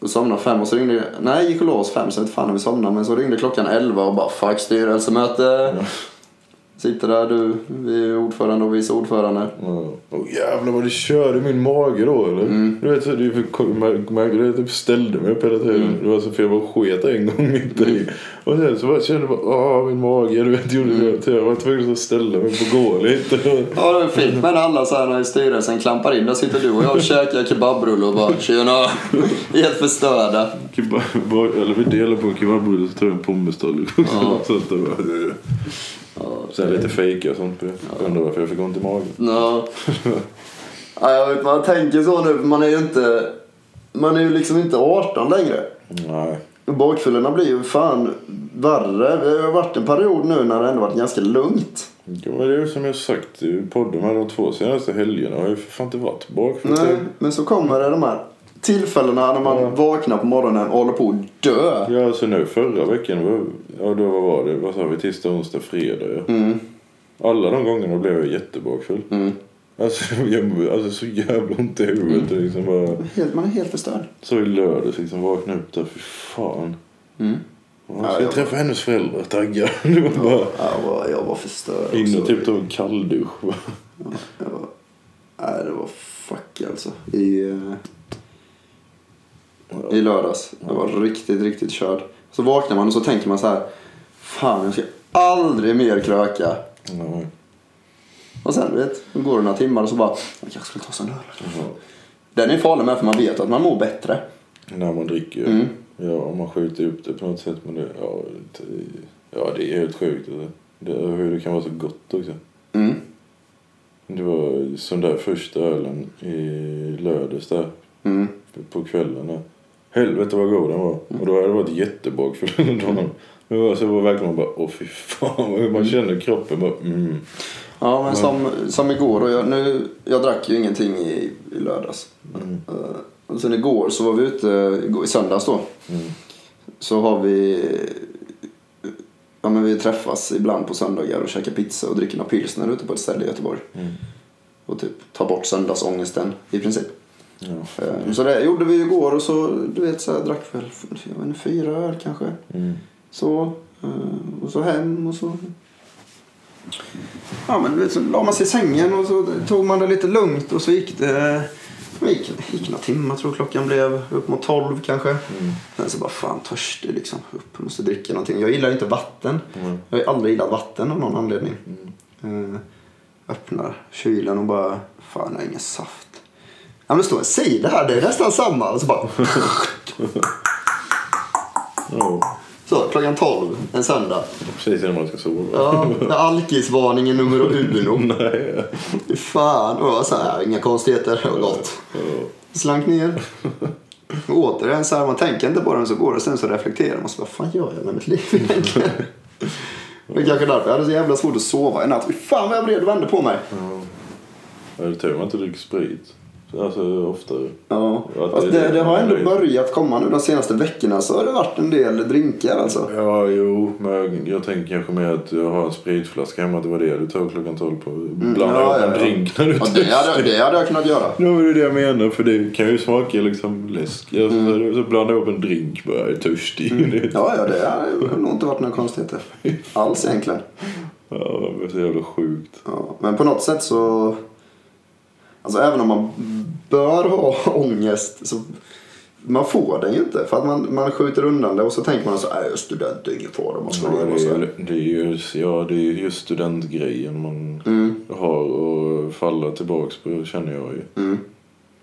[SPEAKER 2] Och somnade fem och så ringde Nej, gick och la oss fem så jag vet fan när vi somnade. Men så ringde klockan elva och bara fuck styrelsemöte.
[SPEAKER 1] Ja.
[SPEAKER 2] Sitter där du, vi är ordförande och vice ordförande.
[SPEAKER 1] Ja. Oh, jävlar vad det körde i min mage då eller? Du vet, så det märkte jag typ ställde mig upp hela tiden. Det var så för jag bara sket en gång mitt i. Och sen så bara kände jag bara, ah min mage, du vet, gjorde det. Så jag var tvungen att ställa mig upp och gå lite.
[SPEAKER 2] Ja, det är fint med alla så här när styrelsen klampar in. Där sitter du och jag och käkar kebabrulle och bara tjena. Helt förstörda.
[SPEAKER 1] Kebab, eller vi delar på en kebabrulle så tar jag en pommesstål också.
[SPEAKER 2] Ja.
[SPEAKER 1] Så att det var-
[SPEAKER 2] Ja,
[SPEAKER 1] Sen lite fejka och sånt. Jag undrar varför jag fick ont i magen.
[SPEAKER 2] Ja. ja, jag vet, man tänker så nu för man är ju inte, man är ju liksom inte 18 längre.
[SPEAKER 1] Nej.
[SPEAKER 2] Bakfyllorna blir ju fan värre. Det har ju varit en period nu när det ändå varit ganska lugnt.
[SPEAKER 1] Ja, men det är ju som jag sagt i podden här de två senaste helgerna. Jag har ju för fan inte varit bakfull.
[SPEAKER 2] Nej, men så kommer det de här tillfällena när man
[SPEAKER 1] Ja.
[SPEAKER 2] vaknar på morgonen och håller på att dö.
[SPEAKER 1] Ja, alltså nu förra veckan, var- ja då vad var det? Vad sa vi? Tisdag, onsdag, fredag ja.
[SPEAKER 2] Mm.
[SPEAKER 1] Alla de gångerna blev jag jättebakfull.
[SPEAKER 2] Mm.
[SPEAKER 1] Alltså, <laughs> jag, alltså så jävla ont i huvudet. Mm. Liksom bara,
[SPEAKER 2] Helt, man är helt förstörd.
[SPEAKER 1] så i lördags liksom vaknade jag upp där, fy fan.
[SPEAKER 2] Mm.
[SPEAKER 1] Ja,
[SPEAKER 2] Ja,
[SPEAKER 1] ska jag
[SPEAKER 2] jag-
[SPEAKER 1] träffa hennes föräldrar, taggar. <laughs> Det var bara
[SPEAKER 2] Ja, jag, var, jag var förstörd.
[SPEAKER 1] in och
[SPEAKER 2] också.
[SPEAKER 1] typ tog en kalldusch. <laughs> va.
[SPEAKER 2] Jag var, nej, det var fuck alltså. I, eh, I lördags. Jag var riktigt, riktigt körd. Så vaknar man och så tänker man så här. Fan, jag ska aldrig mer kröka.
[SPEAKER 1] Ja,
[SPEAKER 2] Och sen vet, då går det några timmar och så bara. Jag kanske skulle ta sig en öl.
[SPEAKER 1] ja.
[SPEAKER 2] Den är farlig med för man vet att man mår bättre.
[SPEAKER 1] När man dricker.
[SPEAKER 2] Mm.
[SPEAKER 1] Ja, om man skjuter upp det på något sätt. Men det, ja, det, ja, det är helt sjukt. Alltså. Det, hur det kan vara så gott också.
[SPEAKER 2] Mm.
[SPEAKER 1] Det var sån där första ölen i lördags där
[SPEAKER 2] Mm.
[SPEAKER 1] på kvällen. Där. Helvete vad god den var. Och då hade jag varit <laughs> jättebakfull under dagen. Men det var så var verkligen bara åh fy fan. <laughs> Man känner kroppen bara mm.
[SPEAKER 2] Ja, men som, som igår. Och jag, nu, jag drack ju ingenting i, i lördags.
[SPEAKER 1] Mm.
[SPEAKER 2] Eh, Och sen igår så var vi ute, igår- i söndags då.
[SPEAKER 1] Mm.
[SPEAKER 2] så har vi ja, men vi träffas ibland på söndagar och käkar pizza och dricker några pilsner ute på ett ställe i Göteborg
[SPEAKER 1] Mm.
[SPEAKER 2] och typ tar bort söndagsångesten i princip.
[SPEAKER 1] Ja.
[SPEAKER 2] Eh, Så det gjorde vi ju igår och så du vet så här, drack väl jag vet inte, fyra öl kanske.
[SPEAKER 1] Mm.
[SPEAKER 2] Så eh, och så hem och så Ja men du vet så la man sig i sängen och så tog man det lite lugnt och så gick det det gick, det gick några timmar tror jag klockan blev upp mot tolv kanske.
[SPEAKER 1] Mm.
[SPEAKER 2] Sen så bara fan törstig liksom. Upp, jag måste dricka någonting. Jag gillar inte vatten.
[SPEAKER 1] Mm.
[SPEAKER 2] Jag har aldrig gillat vatten av någon anledning. Eh, öppnar kylen och bara fan jag har ingen saft. Ja men stå och säg det här, det är nästan samma. Och så bara <laughs>
[SPEAKER 1] Ja.
[SPEAKER 2] så klockan 12 en söndag.
[SPEAKER 1] Precis innan man ska sova.
[SPEAKER 2] <laughs> Ja, det är alkisvarningen nummer uno.
[SPEAKER 1] <laughs> Nej.
[SPEAKER 2] Fy Fan, och jag var så här, inga konstigheter, det var gott.
[SPEAKER 1] Ja. <laughs>
[SPEAKER 2] Slank ner. Och Återigen så här, man tänker inte på den så går det. Sen så reflekterar man så vad fan gör jag med mitt liv
[SPEAKER 1] <laughs>
[SPEAKER 2] egentligen? Det är kanske därför jag hade så jävla svårt att
[SPEAKER 1] Mm.
[SPEAKER 2] sova i natt. Fy Fan vad jag vred och vände på mig.
[SPEAKER 1] Ja. Det är tur man inte dricker sprit. alltså oftare.
[SPEAKER 2] Ja.
[SPEAKER 1] Att
[SPEAKER 2] Fast
[SPEAKER 1] det-
[SPEAKER 2] det, det har ändå
[SPEAKER 1] det-
[SPEAKER 2] börjat komma nu de senaste veckorna så har det varit en del drinkar
[SPEAKER 1] <laughs>
[SPEAKER 2] alltså.
[SPEAKER 1] Ja, jo, men jag, jag tänker kanske mer att jag har en spritflaska hemma. Det var det du tog klockan tolv på. Blanda
[SPEAKER 2] ja,
[SPEAKER 1] upp en
[SPEAKER 2] ja, ja.
[SPEAKER 1] drink när du
[SPEAKER 2] Ja, det, hade, det hade jag kunnat göra.
[SPEAKER 1] Ja, men det är det jag menar. För det kan ju smaka liksom läsk. Alltså,
[SPEAKER 2] Mm.
[SPEAKER 1] Så blandar jag upp en drink bara. Jag är törstig. <laughs> Det-
[SPEAKER 2] Ja, ja, det hade nog inte varit några
[SPEAKER 1] <laughs>
[SPEAKER 2] konstigheter alls egentligen.
[SPEAKER 1] Ja, det är så jävla sjukt.
[SPEAKER 2] Ja, men på något sätt så... Alltså även om man bör ha <laughs> ångest så man får den ju inte. För att man, man skjuter undan det och så tänker man så här, "Äh, jag är student, det är ingen fara. Man
[SPEAKER 1] Ja,
[SPEAKER 2] slår
[SPEAKER 1] det,
[SPEAKER 2] och så. här."
[SPEAKER 1] är, det, är ju, ja, det är ju just studentgrejen man
[SPEAKER 2] Mm,
[SPEAKER 1] har att falla tillbaks på känner jag ju.
[SPEAKER 2] mm.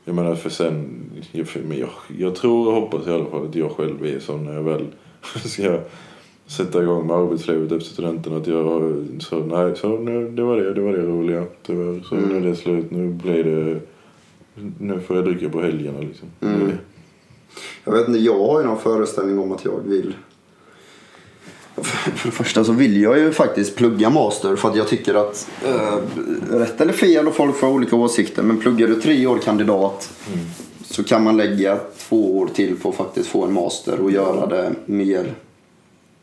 [SPEAKER 1] Jag menar för sen, jag, för- men jag, jag tror och hoppas i alla fall att jag själv är sån när jag väl <laughs> ska sätta igång med arbetslivet efter studenten. Att jag har- så nej, så nu, det var det, det var det roliga tyvärr.
[SPEAKER 2] Mm.
[SPEAKER 1] Så nu är det slut, nu blir det, nu får jag dricka på helgerna liksom.
[SPEAKER 2] Mm.
[SPEAKER 1] Det-
[SPEAKER 2] Jag vet inte, jag har ju någon föreställning om att jag vill... För det första så vill jag ju faktiskt plugga master för att jag tycker att eh, rätt eller fel och folk får ha olika åsikter men pluggar du tre år kandidat så kan man lägga två år till på att faktiskt få en master och göra det mer,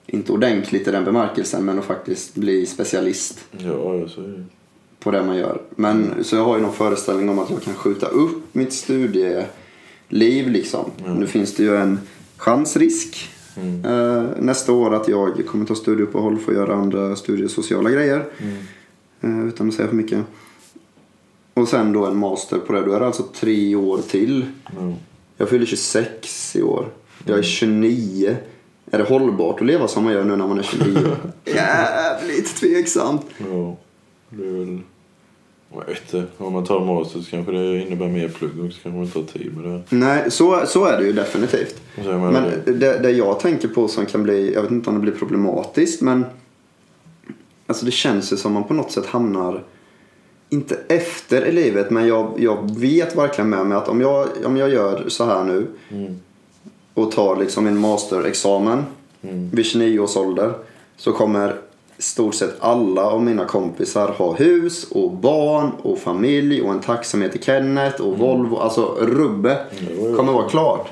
[SPEAKER 2] inte ordentligt i den bemärkelsen men att faktiskt bli specialist
[SPEAKER 1] Ja, alltså, jag säger det.
[SPEAKER 2] på det man gör. Men så jag har ju någon föreställning om att jag kan skjuta upp mitt studieliv liksom. Nu finns det ju en chansrisk eh, nästa år att jag kommer ta studieuppehåll för att göra andra studiesociala grejer. Eh, utan att säga för mycket. Och sen då en master på det. Då är det alltså tre år till.
[SPEAKER 1] Mm.
[SPEAKER 2] Jag fyller 26 i år. Jag är 29. Är det hållbart att leva som man gör nu när man är 29? Jävligt tveksamt.
[SPEAKER 1] Ja, det är väl... Jag vet inte. Om man tar master så kanske det innebär mer plugg också. Kanske man inte har tid med det.
[SPEAKER 2] Nej, så, så är det ju definitivt.
[SPEAKER 1] Och så jag menar,
[SPEAKER 2] Men det, det jag tänker på som kan bli, jag vet inte om det blir problematiskt, men alltså det känns ju som man på något sätt hamnar, inte efter i livet, men jag, jag vet verkligen med mig att om jag, om jag gör så här nu
[SPEAKER 1] Mm.
[SPEAKER 2] och tar liksom en masterexamen
[SPEAKER 1] Mm.
[SPEAKER 2] vid 29 års ålder så kommer stort sett alla av mina kompisar ha hus och barn och familj och en taxi som heter Kenneth och Volvo. Alltså rubbet
[SPEAKER 1] Mm. jo, Mm. jo.
[SPEAKER 2] kommer vara klart.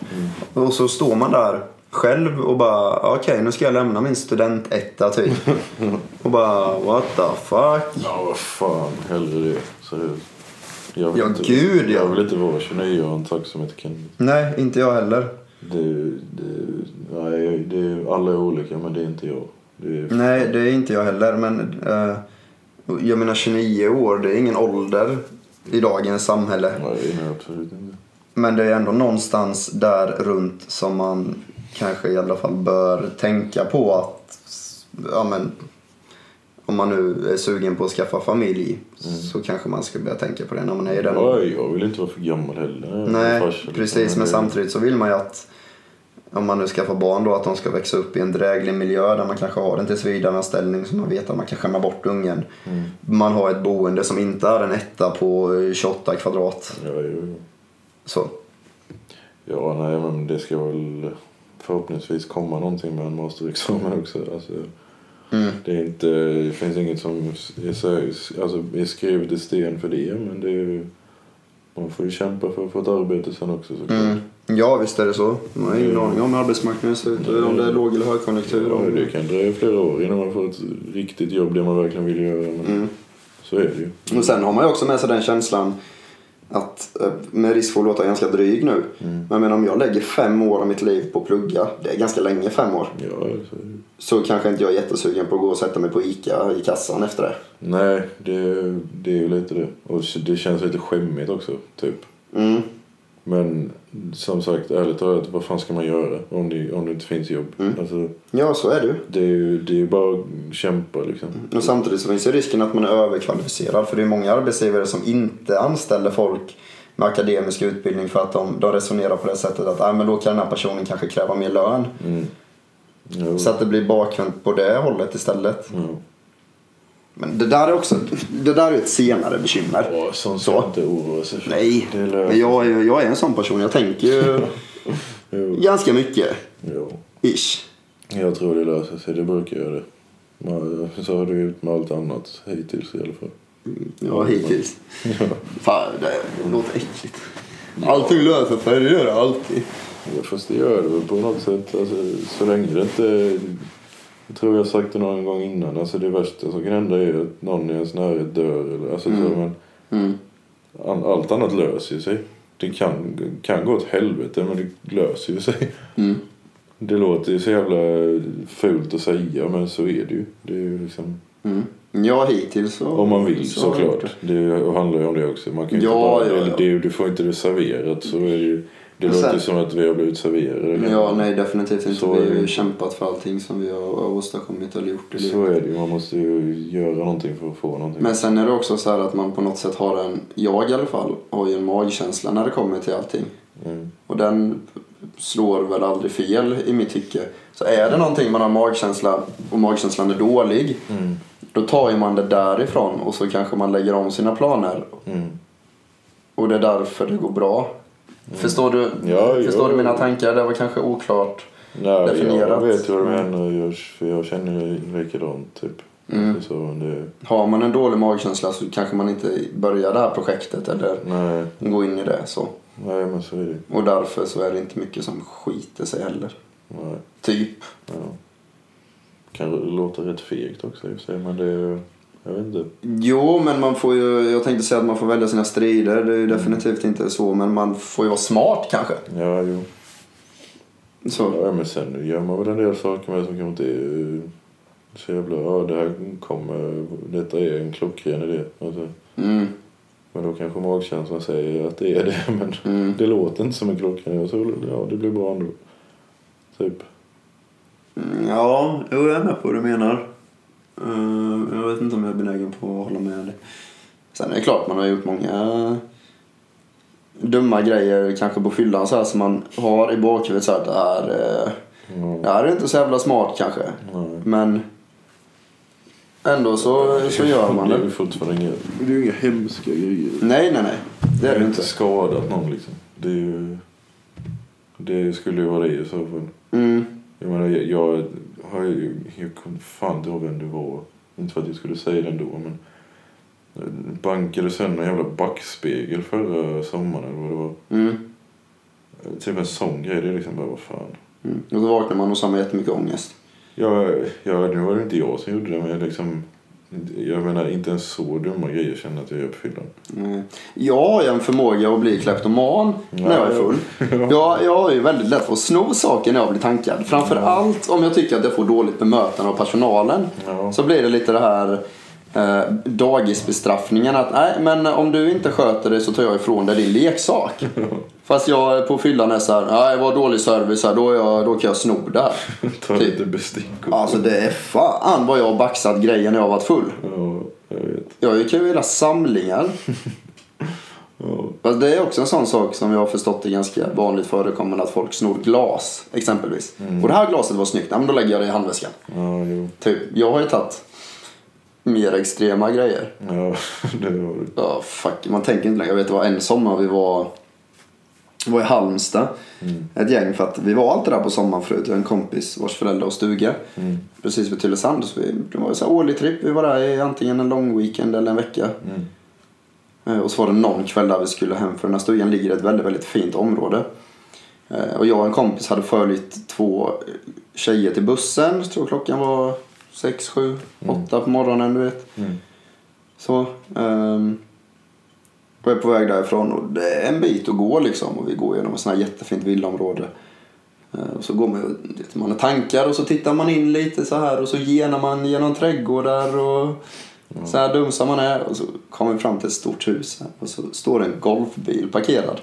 [SPEAKER 2] Och så står man där själv och bara okej nu ska jag lämna min studentetta
[SPEAKER 1] <laughs>
[SPEAKER 2] typ. och bara what the fuck.
[SPEAKER 1] Ja, vad fan. Hellre det. Seriöst. Jag
[SPEAKER 2] Ja, gud, ja.
[SPEAKER 1] Jag vill inte vara 29 och ha en tax som heter Kenneth.
[SPEAKER 2] Nej, inte jag heller.
[SPEAKER 1] Det, det, nej, det, alla är olika, men det är inte jag. Det är,
[SPEAKER 2] Nej, det är inte jag heller. Men eh, jag menar 29 år, det är ingen ålder i dagens samhälle.
[SPEAKER 1] nej, det är jag absolut inte.
[SPEAKER 2] Men det är ändå någonstans där runt som man kanske i alla fall bör tänka på att ja, men, om man nu är sugen på att skaffa familj så kanske man ska börja tänka på det när man är i den.
[SPEAKER 1] Nej, jag vill inte vara för gammal heller. Jag är
[SPEAKER 2] Nej,
[SPEAKER 1] farsa, liksom,
[SPEAKER 2] precis. Men
[SPEAKER 1] det-
[SPEAKER 2] samtidigt så vill man ju att om man nu skaffar barn då att de ska växa upp i en dräglig miljö där man kanske har en tillsvidareanställning så man vet att man kan skämma bort ungen.
[SPEAKER 1] Mm.
[SPEAKER 2] Man har ett boende som inte är en etta på eh, 28 kvadrat.
[SPEAKER 1] Ja, jo, jo.
[SPEAKER 2] Så.
[SPEAKER 1] Ja, nej, men det ska väl förhoppningsvis komma någonting med en masterexamen också. Alltså,
[SPEAKER 2] Mm.
[SPEAKER 1] det, är inte, det finns inget som är, så, alltså, är skrivet i sten för det, men det är ju, man får ju kämpa för att få ett arbete sen också såklart.
[SPEAKER 2] Mm. Ja, visst är det så. Man har ingen
[SPEAKER 1] Mm.
[SPEAKER 2] aning om hur arbetsmarknaden ser ut,
[SPEAKER 1] Mm.
[SPEAKER 2] om det är låg eller högkonjunktur.
[SPEAKER 1] Ja,
[SPEAKER 2] Om...
[SPEAKER 1] det kan dröja flera år innan man får ett riktigt jobb, det man verkligen vill göra. Men
[SPEAKER 2] Mm.
[SPEAKER 1] Så är det ju.
[SPEAKER 2] Och sen har man ju också med sig den känslan att, eh, med risk för att låta ganska dryg nu,
[SPEAKER 1] Mm.
[SPEAKER 2] men jag menar, om jag lägger fem år av mitt liv på att plugga, det är ganska länge fem år,
[SPEAKER 1] Ja, alltså, så är det. ju.
[SPEAKER 2] så kanske inte jag är jättesugen på att gå och sätta mig på ICA i kassan efter det.
[SPEAKER 1] Nej, det, det är ju lite det. Och det känns lite skämmigt också, typ.
[SPEAKER 2] Mm.
[SPEAKER 1] Men som sagt, ärligt talat, vad fan ska man göra om det, om det inte finns jobb?
[SPEAKER 2] Mm.
[SPEAKER 1] Alltså,
[SPEAKER 2] Ja, så är det ju.
[SPEAKER 1] det är ju det är ju bara att kämpa liksom.
[SPEAKER 2] Och samtidigt så finns ju risken att man är överkvalificerad. För det är många arbetsgivare som inte anställer folk med akademisk utbildning för att de, de resonerar på det sättet att "Ah, men då kan den här personen kanske kräva mer lön.
[SPEAKER 1] Mm. Jo.
[SPEAKER 2] Så att det blir bakvänt på det hållet istället.
[SPEAKER 1] Ja.
[SPEAKER 2] Men det där är också det där är ett senare bekymmer.
[SPEAKER 1] Ja, sånt ska man inte oroa sig för.
[SPEAKER 2] Nej,
[SPEAKER 1] Det är
[SPEAKER 2] men
[SPEAKER 1] löst.
[SPEAKER 2] jag är, jag är en sån person. Jag tänker
[SPEAKER 1] <laughs>
[SPEAKER 2] ju
[SPEAKER 1] Jo.
[SPEAKER 2] ganska mycket.
[SPEAKER 1] Jo.
[SPEAKER 2] Ish.
[SPEAKER 1] Jag tror det löser sig, det brukar göra det. Men eh, så har det ju ut med allt annat hittills i alla fall.
[SPEAKER 2] Ja, hittills. Fan, det låter äckligt. Allting löser sig, det gör det alltid.
[SPEAKER 1] Ja, Fast det gör det väl på något sätt. Alltså, så länge det inte... Jag tror jag har sagt det någon gång innan. Alltså det värsta som kan hända är ju att någon i ens närhet dör. Eller, alltså, så, men
[SPEAKER 2] Mm.
[SPEAKER 1] all- allt annat löser ju sig. Det kan, kan gå åt helvete men det löser ju sig.
[SPEAKER 2] Mm.
[SPEAKER 1] Det låter ju så jävla fult att säga men så är det ju. Det är ju liksom,
[SPEAKER 2] Mm. Ja, hittills så...
[SPEAKER 1] om man vill
[SPEAKER 2] så har jag gjort det.
[SPEAKER 1] såklart. Det handlar ju om det också. Man kan ju inte
[SPEAKER 2] Ja,
[SPEAKER 1] bara,
[SPEAKER 2] ja, ja.
[SPEAKER 1] Det, är ju- du får inte det serverat så är det ju... Det
[SPEAKER 2] Men
[SPEAKER 1] låter
[SPEAKER 2] sen-
[SPEAKER 1] som att vi har blivit serverade.
[SPEAKER 2] Ja, nej definitivt inte.
[SPEAKER 1] Så
[SPEAKER 2] vi
[SPEAKER 1] är
[SPEAKER 2] har
[SPEAKER 1] det
[SPEAKER 2] ju
[SPEAKER 1] ju.
[SPEAKER 2] kämpat för allting som vi har åstadkommit eller gjort i
[SPEAKER 1] Så
[SPEAKER 2] livet.
[SPEAKER 1] är det ju. Man måste ju göra någonting för att få någonting.
[SPEAKER 2] Men sen är det också så här att man på något sätt har en, jag i alla fall, har ju en magkänsla när det kommer till allting.
[SPEAKER 1] Mm.
[SPEAKER 2] Och den slår väl aldrig fel i mitt tycke. Så är det någonting man har magkänsla och magkänslan är dålig,
[SPEAKER 1] Mm.
[SPEAKER 2] då tar ju man det därifrån och så kanske man lägger om sina planer.
[SPEAKER 1] Mm.
[SPEAKER 2] Och det är därför det går bra. Förstår du,
[SPEAKER 1] Ja,
[SPEAKER 2] förstår
[SPEAKER 1] ja.
[SPEAKER 2] du mina tankar? Det var kanske oklart.
[SPEAKER 1] Nej,
[SPEAKER 2] Definierat.
[SPEAKER 1] jag vet ju vad du menar. Jag, för jag känner ju likadant typ.
[SPEAKER 2] Mm.
[SPEAKER 1] Så, men det,
[SPEAKER 2] Har man en dålig magkänsla så kanske man inte börjar det här projektet eller
[SPEAKER 1] nej,
[SPEAKER 2] gå in i det så.
[SPEAKER 1] nej, men så är det ju.
[SPEAKER 2] Och därför så är det inte mycket som skiter sig heller.
[SPEAKER 1] Nej,
[SPEAKER 2] Typ.
[SPEAKER 1] ja. Kan låta rätt fegt också i och för sig, men det är Jag vet inte.
[SPEAKER 2] Jo, men man får ju, jag tänkte säga att man får välja sina strider. Det är
[SPEAKER 1] Mm.
[SPEAKER 2] ju definitivt inte så, men man får ju vara smart kanske.
[SPEAKER 1] Ja, jo.
[SPEAKER 2] Så.
[SPEAKER 1] Ja, men sen gör man väl en del saker med som kanske inte är eh, så jävla... Ja, det här kommer... Detta är en klockren idé. Alltså,
[SPEAKER 2] Mm,
[SPEAKER 1] men då kanske magkänslan säger att det är det, <laughs> men...
[SPEAKER 2] mm.
[SPEAKER 1] Det låter inte som en klockren idé. Så, ja, det blir bra ändå. Typ.
[SPEAKER 2] Mm, Ja, jo, jag är med på vad du menar. Eh, Jag vet inte om jag är benägen på att hålla med dig. Sen är det klart, man har gjort många dumma grejer kanske på fyllan så här som man har i bakhuvudet så här att det här, eh,
[SPEAKER 1] Ja.
[SPEAKER 2] det här är inte så jävla smart kanske.
[SPEAKER 1] Nej.
[SPEAKER 2] Men ändå så, så gör man
[SPEAKER 1] Det är
[SPEAKER 2] det.
[SPEAKER 1] ju fortfarande inga... Det är ju inga hemska grejer.
[SPEAKER 2] Nej, nej, nej. Det är det inte.
[SPEAKER 1] skadat någon liksom. Det är ju... Det skulle ju vara det i så fall.
[SPEAKER 2] Mm.
[SPEAKER 1] Jag menar, jag, jag har ju... Jag kommer fan inte ihåg vem det var. Inte för att jag skulle säga det ändå, men... jag Bankade sönder en jävla backspegel förra sommaren eller vad det var.
[SPEAKER 2] Mm.
[SPEAKER 1] Typ en sån grej. Det är liksom bara, vad fan.
[SPEAKER 2] Mm. Och så vaknar man och så har man jättemycket ångest.
[SPEAKER 1] Jag, jag, nu var det inte jag som gjorde det, men jag liksom... Jag menar, inte ens så dumma grejer känner jag att jag gör på fyllan.
[SPEAKER 2] Mm. Jag har ju en förmåga att bli kleptoman när jag är full. Jag, jag har ju väldigt lätt för att sno saker när jag blir tankad. Framförallt om jag tycker att jag får dåligt bemötande av personalen.
[SPEAKER 1] Ja.
[SPEAKER 2] Så blir det lite det här eh, dagisbestraffningen. Att nej, men om du inte sköter dig så tar jag ifrån dig din leksak. Fast jag på fyllan är så här, nej vad dålig service här, då, är jag, då kan jag sno det här.
[SPEAKER 1] Ta
[SPEAKER 2] typ.
[SPEAKER 1] lite bestick och...
[SPEAKER 2] Alltså det är fan vad jag har baxat grejer när jag har varit full.
[SPEAKER 1] Ja, jag vet.
[SPEAKER 2] Jag gick ju hela samlingar.
[SPEAKER 1] Ja.
[SPEAKER 2] Fast det är också en sån sak som jag har förstått är ganska vanligt förekommande att folk snor glas exempelvis. Och det här glaset var snyggt, ja, men då lägger jag det i handväskan.
[SPEAKER 1] Ja, jo.
[SPEAKER 2] Typ, jag har ju tagit mer extrema grejer.
[SPEAKER 1] Ja, <laughs> det har du.
[SPEAKER 2] Ja, fuck, man tänker inte längre. Jag vet det var en sommar vi var, var i Halmstad. Ett gäng för att vi var alltid där på sommaren förut. Jag har en kompis vars föräldrar har stuga. Precis vid Tylösand. Så vi, det var en sån här årlig tripp. Vi var där i antingen en lång weekend eller en vecka.
[SPEAKER 1] Mm.
[SPEAKER 2] Eh, Och så var det någon kväll där vi skulle hem för den här stugan ligger i ett väldigt, väldigt fint område. Eh, Och jag och en kompis hade följt två eh, tjejer till bussen. Jag tror klockan var sex, sju, åtta på morgonen du vet.
[SPEAKER 1] Mm.
[SPEAKER 2] Så. ehm, och jag är på väg därifrån och det är en bit att gå liksom. Och vi går genom ett sånt här jättefint villaområde. Eh, Och så går man ju, du vet, man har tankar och så tittar man in lite så här och så genar man genom trädgårdar och så här dum som man är. Och så kommer vi fram till ett stort hus här och så står det en golfbil parkerad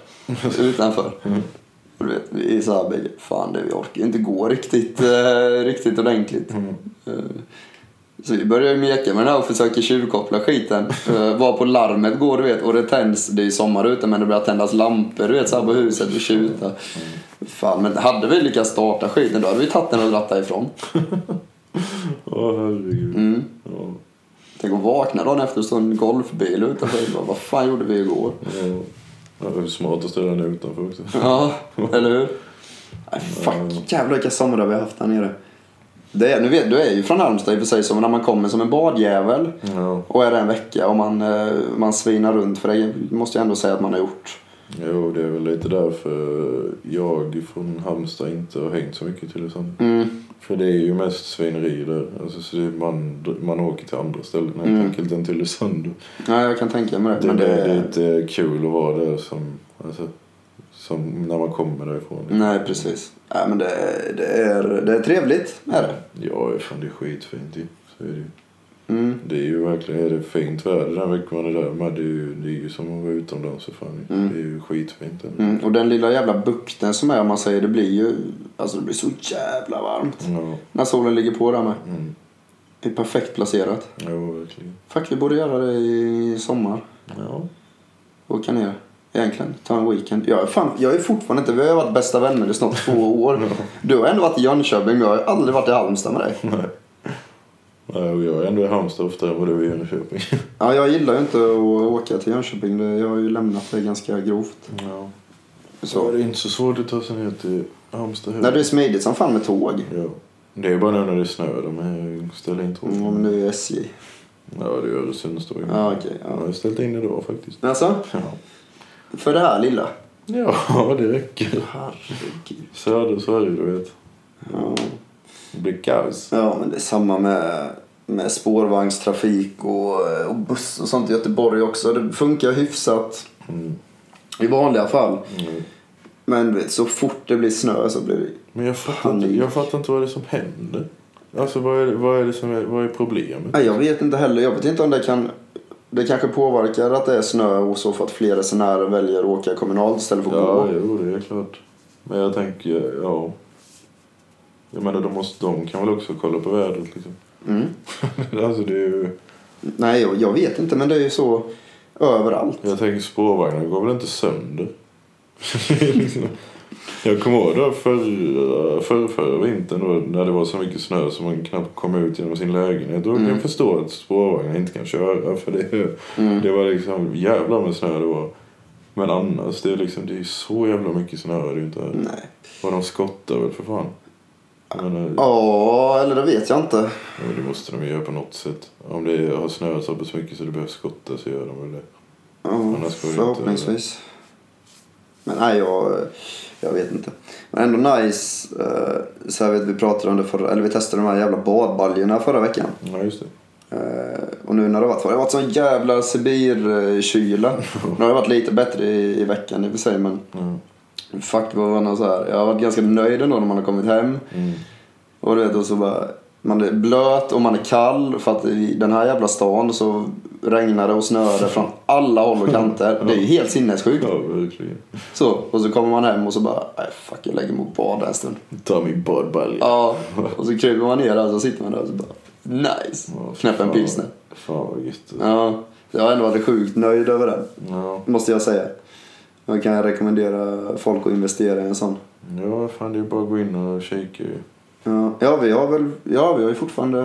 [SPEAKER 2] utanför. Och du vet, vi är så här bägge, fan det vi orkar ju inte gå riktigt, eh, riktigt ordentligt. Eh, så vi börjar ju meka med den här och försöker tjuvkoppla skiten. Uh, var på larmet går du vet och det tänds, det är ju sommar ute men det börjar tändas lampor du vet så här på huset och tjuta. Fan men hade vi lyckats starta skiten då hade vi tagit den och dratt ifrån.
[SPEAKER 1] Åh, herregud.
[SPEAKER 2] Mm.
[SPEAKER 1] Ja.
[SPEAKER 2] Tänk att vakna dagen efter och stå en golfbil utanför. Bara, Vad fan gjorde vi igår?
[SPEAKER 1] Ja. Ja, det är smart att ställa den utanför också.
[SPEAKER 2] Ja, eller hur? Nej, fuck, jävlar vilka somrar vi har haft här nere. Det är, nu vet, du är ju från Halmstad i och för sig, så när man kommer som en badjävel
[SPEAKER 1] Ja,
[SPEAKER 2] och är där en vecka och man, eh, man svinar runt. För det måste jag ändå säga att man har gjort.
[SPEAKER 1] Jo, det är väl lite därför jag från Halmstad inte har hängt så mycket till exempel.
[SPEAKER 2] Mm.
[SPEAKER 1] För det är ju mest svineri där. Alltså, så det är man, man åker till andra ställen helt
[SPEAKER 2] Mm.
[SPEAKER 1] enkelt än Tylösand.
[SPEAKER 2] Ja, jag kan tänka mig det.
[SPEAKER 1] Det,
[SPEAKER 2] men
[SPEAKER 1] det
[SPEAKER 2] det
[SPEAKER 1] är lite kul att vara där som, alltså, som när man kommer därifrån.
[SPEAKER 2] Nej, precis. Ja, men det, det, är, det är trevligt, är det.
[SPEAKER 1] Ja, fan det är skitfint ju. Så är det, ju.
[SPEAKER 2] Mm.
[SPEAKER 1] det är ju verkligen är det fint väder den veckan man är där med. Det är ju, det är ju som att vara utomlands för fan. ju.
[SPEAKER 2] Mm.
[SPEAKER 1] Det är ju skitfint. Mm.
[SPEAKER 2] Mm. Och den lilla jävla bukten som är om man säger det blir ju alltså det blir så jävla varmt.
[SPEAKER 1] Ja,
[SPEAKER 2] När solen ligger på där med.
[SPEAKER 1] mm.
[SPEAKER 2] Det är perfekt placerat.
[SPEAKER 1] ja, verkligen.
[SPEAKER 2] Fuck, vi borde göra det i sommar.
[SPEAKER 1] Ja.
[SPEAKER 2] Åka ner. Egentligen. Ta en weekend. Jag är, fan, jag är fortfarande inte... Vi har varit bästa vänner i snart två
[SPEAKER 1] <laughs>
[SPEAKER 2] år. Du har ändå varit i Jönköping men jag har aldrig varit i Halmstad med dig.
[SPEAKER 1] Nej, och jag är ändå i Halmstad oftare än vad du är i Jönköping.
[SPEAKER 2] Ja, jag gillar ju inte att åka till Jönköping. Det- Jag har ju lämnat det ganska grovt.
[SPEAKER 1] Ja. Så.
[SPEAKER 2] Så.
[SPEAKER 1] Det är inte så svårt att ta sig ner till Halmstad.
[SPEAKER 2] Nej, det är smidigt som fan med tåg.
[SPEAKER 1] Ja. Det är bara nu när det snöar. De är- ställer in tåg.
[SPEAKER 2] Mm, men det är SJ.
[SPEAKER 1] Ja, det är Öresundstågen.
[SPEAKER 2] Ja, okej, ja.
[SPEAKER 1] Jag har ställt in idag faktiskt.
[SPEAKER 2] Alltså,
[SPEAKER 1] Ja,
[SPEAKER 2] för det här lilla.
[SPEAKER 1] ja <laughs> det räcker.
[SPEAKER 2] Herregud.
[SPEAKER 1] Söder Sverige, du vet.
[SPEAKER 2] Ja.
[SPEAKER 1] Det blir kaos.
[SPEAKER 2] ja, men det är samma med, med spårvagnstrafik och, och buss och sånt i Göteborg också. Det funkar hyfsat
[SPEAKER 1] Mm.
[SPEAKER 2] i vanliga fall.
[SPEAKER 1] Mm.
[SPEAKER 2] Men du vet, så fort det blir snö så blir det...
[SPEAKER 1] Men jag fattar, inte,
[SPEAKER 2] Panik.
[SPEAKER 1] jag fattar inte vad det är som händer. Alltså vad är, det- vad är det som är, vad är problemet?
[SPEAKER 2] Nej, jag vet inte heller. Jag vet inte om det kan... Det kanske påverkar att det är snö och så för att fler resenärer väljer att åka kommunalt istället för att
[SPEAKER 1] Ja,
[SPEAKER 2] gå.
[SPEAKER 1] jo, det är klart. Men jag tänker, ja. Jag menar, de, måste, de kan väl också kolla på vädret liksom.
[SPEAKER 2] Mm.
[SPEAKER 1] <laughs> alltså det är ju...
[SPEAKER 2] Nej, jag, jag vet inte, men det är ju så överallt.
[SPEAKER 1] Jag tänker spårvagnar går väl inte sönder? liksom. Jag kommer ihåg då förra, förra, förra vintern då, när det var så mycket snö så man knappt kom ut genom sin lägenhet. Då kan
[SPEAKER 2] Mm.
[SPEAKER 1] jag förstå att spårvagnar inte kan köra för det,
[SPEAKER 2] Mm.
[SPEAKER 1] det var liksom jävla med snö det var. Men annars, det är liksom det är så jävla mycket snö det är ju inte här.
[SPEAKER 2] Nej.
[SPEAKER 1] Och de skottar väl för fan. Jag menar,
[SPEAKER 2] Ja, eller det vet jag inte.
[SPEAKER 1] ja, men det måste de ju göra på något sätt. Om det har snöat så pass mycket så det behövs skotta så gör de väl det.
[SPEAKER 2] Ja,
[SPEAKER 1] Annars går det inte.
[SPEAKER 2] förhoppningsvis. Men nej, jag, jag vet inte. Men ändå nice. eh, Så här vet vi pratade om det förra, eller vi testade de här jävla badbaljorna förra veckan.
[SPEAKER 1] Ja, just det.
[SPEAKER 2] Eh, Och nu när det har varit, det har varit sån jävla Sibirkyla. Nu har det varit lite bättre i, i veckan i och för sig men
[SPEAKER 1] Ja.
[SPEAKER 2] fuck vad man har så här. Jag har varit ganska nöjd ändå när man har kommit hem.
[SPEAKER 1] Mm.
[SPEAKER 2] Och du vet, och så bara, man är blöt och man är kall för att i den här jävla stan så regnar det och snöar det från alla håll och kanter. Det är ju helt sinnessjukt.
[SPEAKER 1] Ja, verkligen.
[SPEAKER 2] Så, och så kommer man hem och så bara, nej fuck jag lägger mig och badar en stund.
[SPEAKER 1] Ta min badbalja.
[SPEAKER 2] Ja, och så kryper man ner där och så sitter man där och så bara, nice.
[SPEAKER 1] Ja,
[SPEAKER 2] Knäpper en
[SPEAKER 1] fan.
[SPEAKER 2] pilsner.
[SPEAKER 1] Fan vad gött.
[SPEAKER 2] Ja, jag har ändå varit sjukt nöjd över den.
[SPEAKER 1] Ja.
[SPEAKER 2] Måste jag säga. Jag kan rekommendera folk att investera i en sån.
[SPEAKER 1] ja, fan det är bara att gå in och kika ju.
[SPEAKER 2] Ja, ja vi har väl, ja vi har ju fortfarande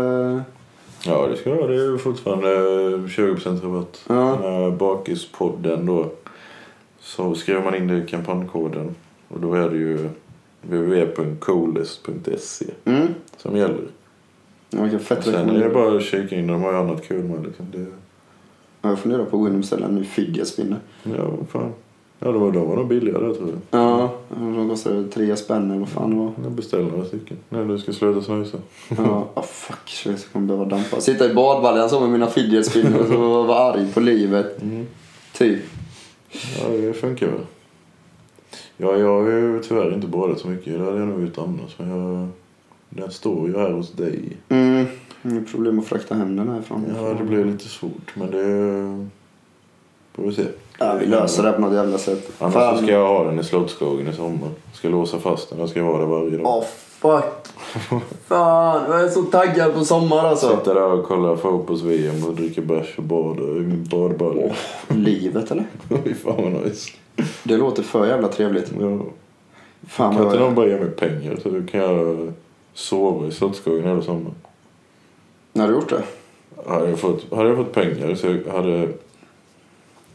[SPEAKER 1] Ja, det ska jag. Det är fortfarande 20% rabatt.
[SPEAKER 2] Ja.
[SPEAKER 1] Med Bakispodden då. Så skriver man in det i kampankoden. Och då är det ju www.coolest.se
[SPEAKER 2] Mm.
[SPEAKER 1] som gäller.
[SPEAKER 2] Man kan fett
[SPEAKER 1] Sen är det
[SPEAKER 2] rekommendera.
[SPEAKER 1] bara att kika in. De har ju annat kul med liksom. Det,
[SPEAKER 2] Ja, Jag funderar på att gå in och beställa en ny fidgetspinner.
[SPEAKER 1] ja, vad fan. Ja, de var, de var nog billigare tror jag.
[SPEAKER 2] Ja, de kostade tre spänn eller vad fan det var.
[SPEAKER 1] Jag beställer några stycken. När du ska sluta snusa.
[SPEAKER 2] Ja, ah, fuck shit, jag kommer behöva dampa. Sitta i badbaljan så med mina fidgetspinnor <laughs> och vara arg på livet.
[SPEAKER 1] Mm.
[SPEAKER 2] Typ.
[SPEAKER 1] Ja, det funkar väl. Ja, jag har ju tyvärr inte badat så mycket. Det hade jag nog gjort annars. Men jag, den står ju här hos dig.
[SPEAKER 2] Mm. Inget problem att frakta hem den härifrån.
[SPEAKER 1] Ja, det blir lite svårt. Men det... Får vi se.
[SPEAKER 2] Ja, vi löser det på något jävla sätt.
[SPEAKER 1] Annars
[SPEAKER 2] Fan.
[SPEAKER 1] så ska jag ha den i Slottsskogen i sommar. Ska låsa fast den. Jag ska vara där varje dag.
[SPEAKER 2] Åh fuck. <laughs> Fan, jag är så taggad på sommar alltså.
[SPEAKER 1] Sitta där och kolla fotbolls-VM och dricka bärs och bada i min badbalja.
[SPEAKER 2] Livet eller?
[SPEAKER 1] <laughs> Fy fan vad nice.
[SPEAKER 2] Det låter för jävla trevligt.
[SPEAKER 1] Ja.
[SPEAKER 2] Fan
[SPEAKER 1] Kan
[SPEAKER 2] vad
[SPEAKER 1] inte de bara ge mig pengar så då kan jag sova i Slottsskogen hela sommaren?
[SPEAKER 2] När har du gjort det?
[SPEAKER 1] Hade jag fått, hade jag fått pengar så jag hade,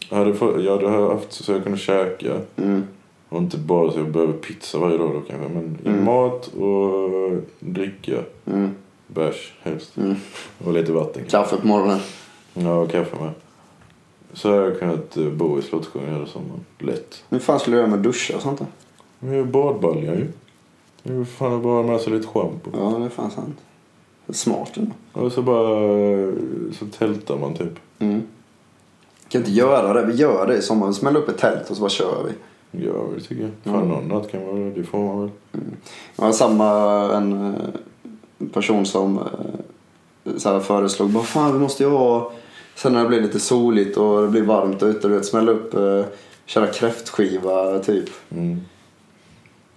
[SPEAKER 1] hade fått, jag hade haft så jag kunde käka.
[SPEAKER 2] Mm.
[SPEAKER 1] Och inte bara så jag behöver pizza varje dag då kanske. Men
[SPEAKER 2] Mm.
[SPEAKER 1] mat och dricka.
[SPEAKER 2] Mm.
[SPEAKER 1] Bärs helst.
[SPEAKER 2] Mm.
[SPEAKER 1] Och lite vatten.
[SPEAKER 2] Kaffe på morgonen.
[SPEAKER 1] Ja, och kaffe med. Så hade jag kunnat eh, bo i Slottsskogen hela sommaren. Lätt.
[SPEAKER 2] Hur fan skulle du göra med duscha och sånt då?
[SPEAKER 1] Men jag är ju badbalja ju. Nu fan jag bara med sig lite schampo.
[SPEAKER 2] Ja, det är fan sant. Smart ändå.
[SPEAKER 1] Och så bara... eh, Så tältar man typ.
[SPEAKER 2] Mm. Kan inte göra det. Vi gör det i sommar. Vi smäller upp ett tält och så bara kör vi.
[SPEAKER 1] Ja, det tycker jag. Fan,
[SPEAKER 2] Mm.
[SPEAKER 1] någon natt kan man väl... Det får man väl.
[SPEAKER 2] Det var samma en eh, person som eh, så här föreslog bara fan vi måste ju ha sen när det blir lite soligt och det blir varmt ute du vet smälla upp eh, köra kräftskiva typ.
[SPEAKER 1] Mm.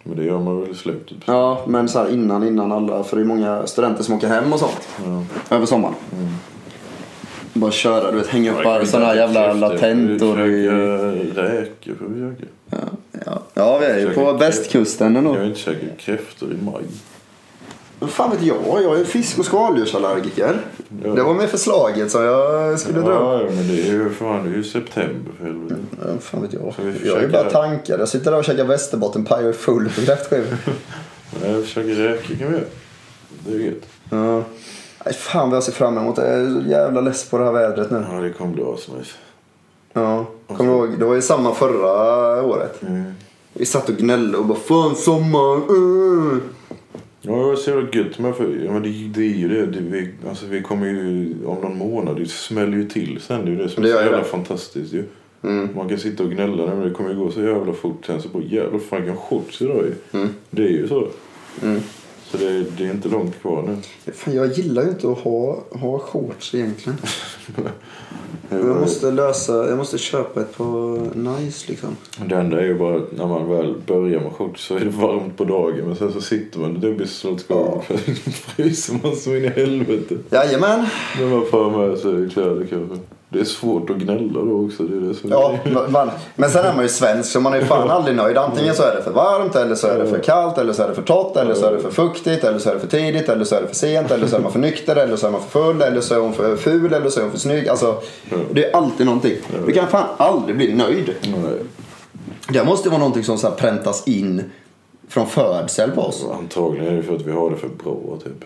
[SPEAKER 1] Men det gör man väl i slutet.
[SPEAKER 2] Ja men så här innan innan alla för det är många studenter som åker hem och sånt
[SPEAKER 1] Ja.
[SPEAKER 2] över sommaren. Bara köra du vet hänga upp
[SPEAKER 1] Jag
[SPEAKER 2] bara
[SPEAKER 1] kan
[SPEAKER 2] sådana här
[SPEAKER 1] inte
[SPEAKER 2] jävla
[SPEAKER 1] kräftor.
[SPEAKER 2] latentor.
[SPEAKER 1] Jag
[SPEAKER 2] i-
[SPEAKER 1] försöker Räkor får vi käka.
[SPEAKER 2] Ja, ja. ja vi är ju på
[SPEAKER 1] Försöker-
[SPEAKER 2] västkusten ändå.
[SPEAKER 1] Jag har inte käkat kräftor i maj.
[SPEAKER 2] Vad fan vet jag? Jag är fisk och skaldjursallergiker.
[SPEAKER 1] Ja.
[SPEAKER 2] Det var med förslaget som jag skulle dra upp.
[SPEAKER 1] Ja, ja, men det är ju fan, det är ju september för helvete.
[SPEAKER 2] Ja, vad fan vet jag.
[SPEAKER 1] Ska vi
[SPEAKER 2] Jag har ju
[SPEAKER 1] försöka-
[SPEAKER 2] bara tankar. Jag sitter där och käkar västerbottenpaj och är full på kräftskivor.
[SPEAKER 1] Nej, jag försöker räkor kan vi göra. Det är gött.
[SPEAKER 2] ja. Nej, fan vad jag ser fram emot det. Jag är så jävla less på det här vädret nu.
[SPEAKER 1] Ja, det kommer bli asnice.
[SPEAKER 2] Ja. Kommer du ihåg? Det var ju samma förra året.
[SPEAKER 1] Mm.
[SPEAKER 2] Vi satt och gnällde och bara fan sommaren. Uh.
[SPEAKER 1] Ja, det var så jävla gött. Men, för, ja, men det, det är ju det. det vi, alltså, vi kommer ju om någon månad. Det smäller ju till sen. Det är ju det som är
[SPEAKER 2] Det
[SPEAKER 1] så
[SPEAKER 2] gör ju
[SPEAKER 1] jävla
[SPEAKER 2] det.
[SPEAKER 1] fantastiskt ju.
[SPEAKER 2] Mm.
[SPEAKER 1] Man kan sitta och gnälla men det kommer ju gå så jävla fort sen. Så bara jävlar fan kan shorts idag ju.
[SPEAKER 2] Mm.
[SPEAKER 1] Det är ju så.
[SPEAKER 2] Mm.
[SPEAKER 1] Så det, det är inte långt kvar nu.
[SPEAKER 2] Fan, jag gillar ju inte att ha, ha shorts egentligen. Jag måste lösa, jag måste köpa ett par nice liksom.
[SPEAKER 1] Det enda är ju bara att när man väl börjar med shorts så är det varmt på dagen men sen så sitter man typ i Slottsskogen och <laughs> fryser man så in i helvete.
[SPEAKER 2] Jajamän.
[SPEAKER 1] När man får med sig kläder kanske. Det är svårt att gnälla då också. Det är det som
[SPEAKER 2] Ja, man, men sen är man ju svensk så man är ju fan aldrig nöjd. Antingen så är det för varmt eller så är det för kallt eller så är det för torrt eller så är det för fuktigt eller så är det för tidigt eller så är det för sent eller så är man för nykter eller så är man för full eller så är hon för ful eller så är hon för snygg. Alltså, det är alltid någonting. Du kan fan aldrig bli nöjd.
[SPEAKER 1] Nej,
[SPEAKER 2] Det måste vara någonting som så här präntas in från födsel på oss.
[SPEAKER 1] antagligen är det för att vi har det för bra typ.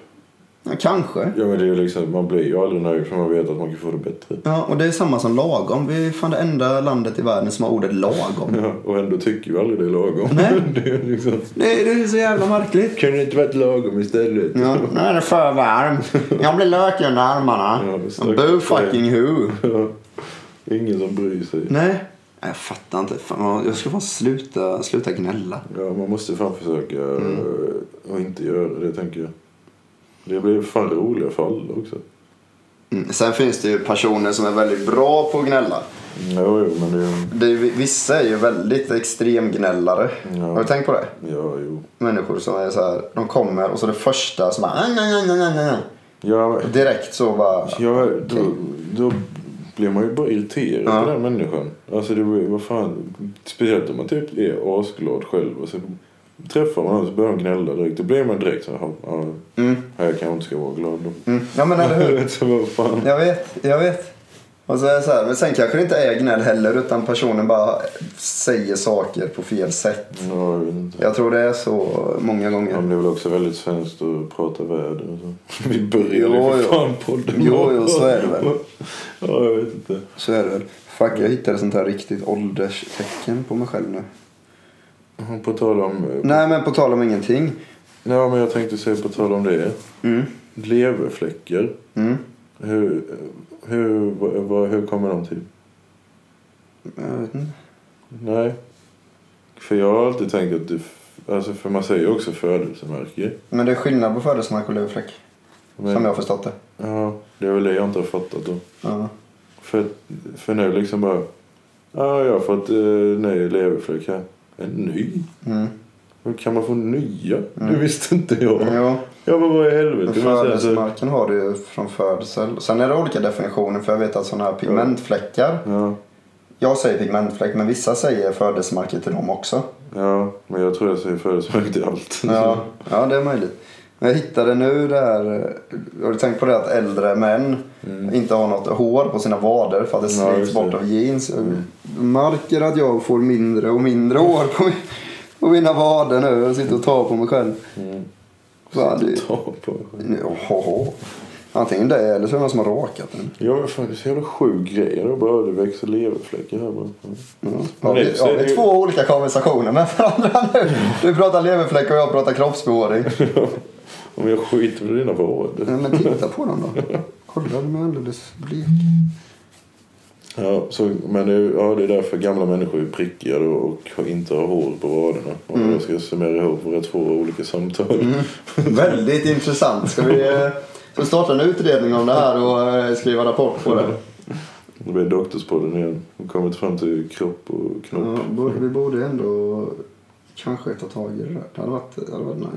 [SPEAKER 2] Ja, kanske.
[SPEAKER 1] Ja men det är ju liksom, man blir ju aldrig nöjd för man vet att man kan få det bättre.
[SPEAKER 2] Ja, och det är samma som lagom. Vi är fan det enda landet i världen som har ordet lagom.
[SPEAKER 1] Ja, och ändå tycker vi aldrig det är lagom.
[SPEAKER 2] Nej.
[SPEAKER 1] <laughs> det är liksom,
[SPEAKER 2] Nej, det är så jävla märkligt.
[SPEAKER 1] kunde det inte varit lagom istället?
[SPEAKER 2] Ja, nu är det för varmt. Jag blir lök under armarna.
[SPEAKER 1] Ja, visst.
[SPEAKER 2] Boo fucking who.
[SPEAKER 1] Ja. Ingen som bryr sig.
[SPEAKER 2] Nej. Nej, Jag fattar inte. Fan, jag ska fan sluta, sluta gnälla.
[SPEAKER 1] Ja, man måste fan försöka
[SPEAKER 2] Mm.
[SPEAKER 1] eh, och inte göra det, tänker jag. Det blir fan roliga för alla också.
[SPEAKER 2] Mm. Sen finns det ju personer som är väldigt bra på att gnälla.
[SPEAKER 1] Jo, jo, men det...
[SPEAKER 2] Det är, ju- vissa är ju väldigt extremgnällare.
[SPEAKER 1] Ja.
[SPEAKER 2] Har du tänkt på det?
[SPEAKER 1] Ja, jo.
[SPEAKER 2] Människor som är så här, de kommer och så det första som bara... "Aj, aj, aj, aj, aj, aj."
[SPEAKER 1] Ja,
[SPEAKER 2] Och Direkt så bara...
[SPEAKER 1] ja då, då blir man ju bara irriterad
[SPEAKER 2] Ja.
[SPEAKER 1] på den människan. Alltså, det blir, vad fan. Speciellt om man typ är asglad själv och så träffar man någon så börjar de gnälla direkt. Då blir man direkt så här, ja,
[SPEAKER 2] Mm,
[SPEAKER 1] jag kanske inte ska vara glad då.
[SPEAKER 2] mm. Ja men
[SPEAKER 1] <laughs>
[SPEAKER 2] eller hur?
[SPEAKER 1] så vad fan.
[SPEAKER 2] Jag vet, jag vet. Och så är det så här, men sen kanske det inte är gnäll heller utan personen bara säger saker på fel sätt.
[SPEAKER 1] Ja, jag vet inte.
[SPEAKER 2] Jag tror det är så många
[SPEAKER 1] Ja,
[SPEAKER 2] gånger.
[SPEAKER 1] men det är väl också väldigt svenskt att prata väder och så. <laughs> Vi börjar ju
[SPEAKER 2] Jo,
[SPEAKER 1] för
[SPEAKER 2] jo.
[SPEAKER 1] fan podden med-
[SPEAKER 2] Jo, jo, så är det väl.
[SPEAKER 1] <laughs> Ja, jag vet inte.
[SPEAKER 2] Så är det väl. Fuck, jag hittade sånt här riktigt ålderstecken på mig själv nu.
[SPEAKER 1] På tal om... Nej.
[SPEAKER 2] Nej men på tal om ingenting.
[SPEAKER 1] men jag tänkte säga på tal om det.
[SPEAKER 2] Mm.
[SPEAKER 1] Leverfläckar.
[SPEAKER 2] Mm.
[SPEAKER 1] Hur, hur, vad, vad- hur kommer de till?
[SPEAKER 2] Jag vet inte.
[SPEAKER 1] Nej. För jag har alltid tänkt att det... Alltså, för man säger ju också födelsemärke.
[SPEAKER 2] Men det är skillnad på födelsemärke och leverfläck.
[SPEAKER 1] Men-
[SPEAKER 2] Som jag har förstått det.
[SPEAKER 1] Ja, det är väl det jag inte har fattat då.
[SPEAKER 2] Ja.
[SPEAKER 1] För, för nu liksom bara... Ja, jag har fått eh, ny leverfläck här. En ny?
[SPEAKER 2] Mm.
[SPEAKER 1] Hur kan man få nya? Det visste inte jag.
[SPEAKER 2] Jo.
[SPEAKER 1] Jag bara, vad i helvete?
[SPEAKER 2] Men
[SPEAKER 1] Men sen så-
[SPEAKER 2] Födelsemärken har du ju från födsel. Sen är det olika definitioner för jag vet att sådana här pigmentfläckar
[SPEAKER 1] Ja,
[SPEAKER 2] Jag säger pigmentfläck, men vissa säger födelsemärke till dem också.
[SPEAKER 1] ja, men jag tror jag säger födelsemärke till allt.
[SPEAKER 2] Ja, ja det är möjligt. Men jag hittade nu det här, eh, har du tänkt på det att äldre män inte har något hår på sina vader för att det
[SPEAKER 1] Mm. Ja,
[SPEAKER 2] slits
[SPEAKER 1] just det. Mm.
[SPEAKER 2] bort av jeans. Jag märker att jag får mindre och mindre hår på, min, på mina vader nu. Jag sitter och tar på mig själv.
[SPEAKER 1] Mm.
[SPEAKER 2] Fan, det,
[SPEAKER 1] Ta på.
[SPEAKER 2] Jaha. Antingen det eller så är det någon som har rakat den.
[SPEAKER 1] Ja, men fan, det är så jävla sjuk grej. Jag har bara ödeväxt och leverfläckar här. bara.
[SPEAKER 2] Ja,
[SPEAKER 1] Men det-
[SPEAKER 2] vi,
[SPEAKER 1] så
[SPEAKER 2] ja,
[SPEAKER 1] är det
[SPEAKER 2] vi är
[SPEAKER 1] ju-
[SPEAKER 2] två olika konversationer med varandra nu. Du pratar leverfläck och jag pratar kroppsbehåring.
[SPEAKER 1] <laughs> Om jag skiter i dina vad.
[SPEAKER 2] Nej, Men titta på dem då. Kolla, de är alldeles blek.
[SPEAKER 1] Ja, så, men det, är- ja, det är därför gamla människor är prickigare och har- inte har hår på raderna. Om
[SPEAKER 2] Mm.
[SPEAKER 1] jag ska summera ihop våra två olika samtal.
[SPEAKER 2] <laughs> Väldigt intressant. Ska vi, eh, ska vi starta en utredning om det här och eh, skriva rapport på det?
[SPEAKER 1] Det blir doktorspodden igen. Vi har kommit fram till kropp och knopp.
[SPEAKER 2] Ja, bo- vi borde ändå kanske ta tag i det där. Det hade varit, det hade varit nice.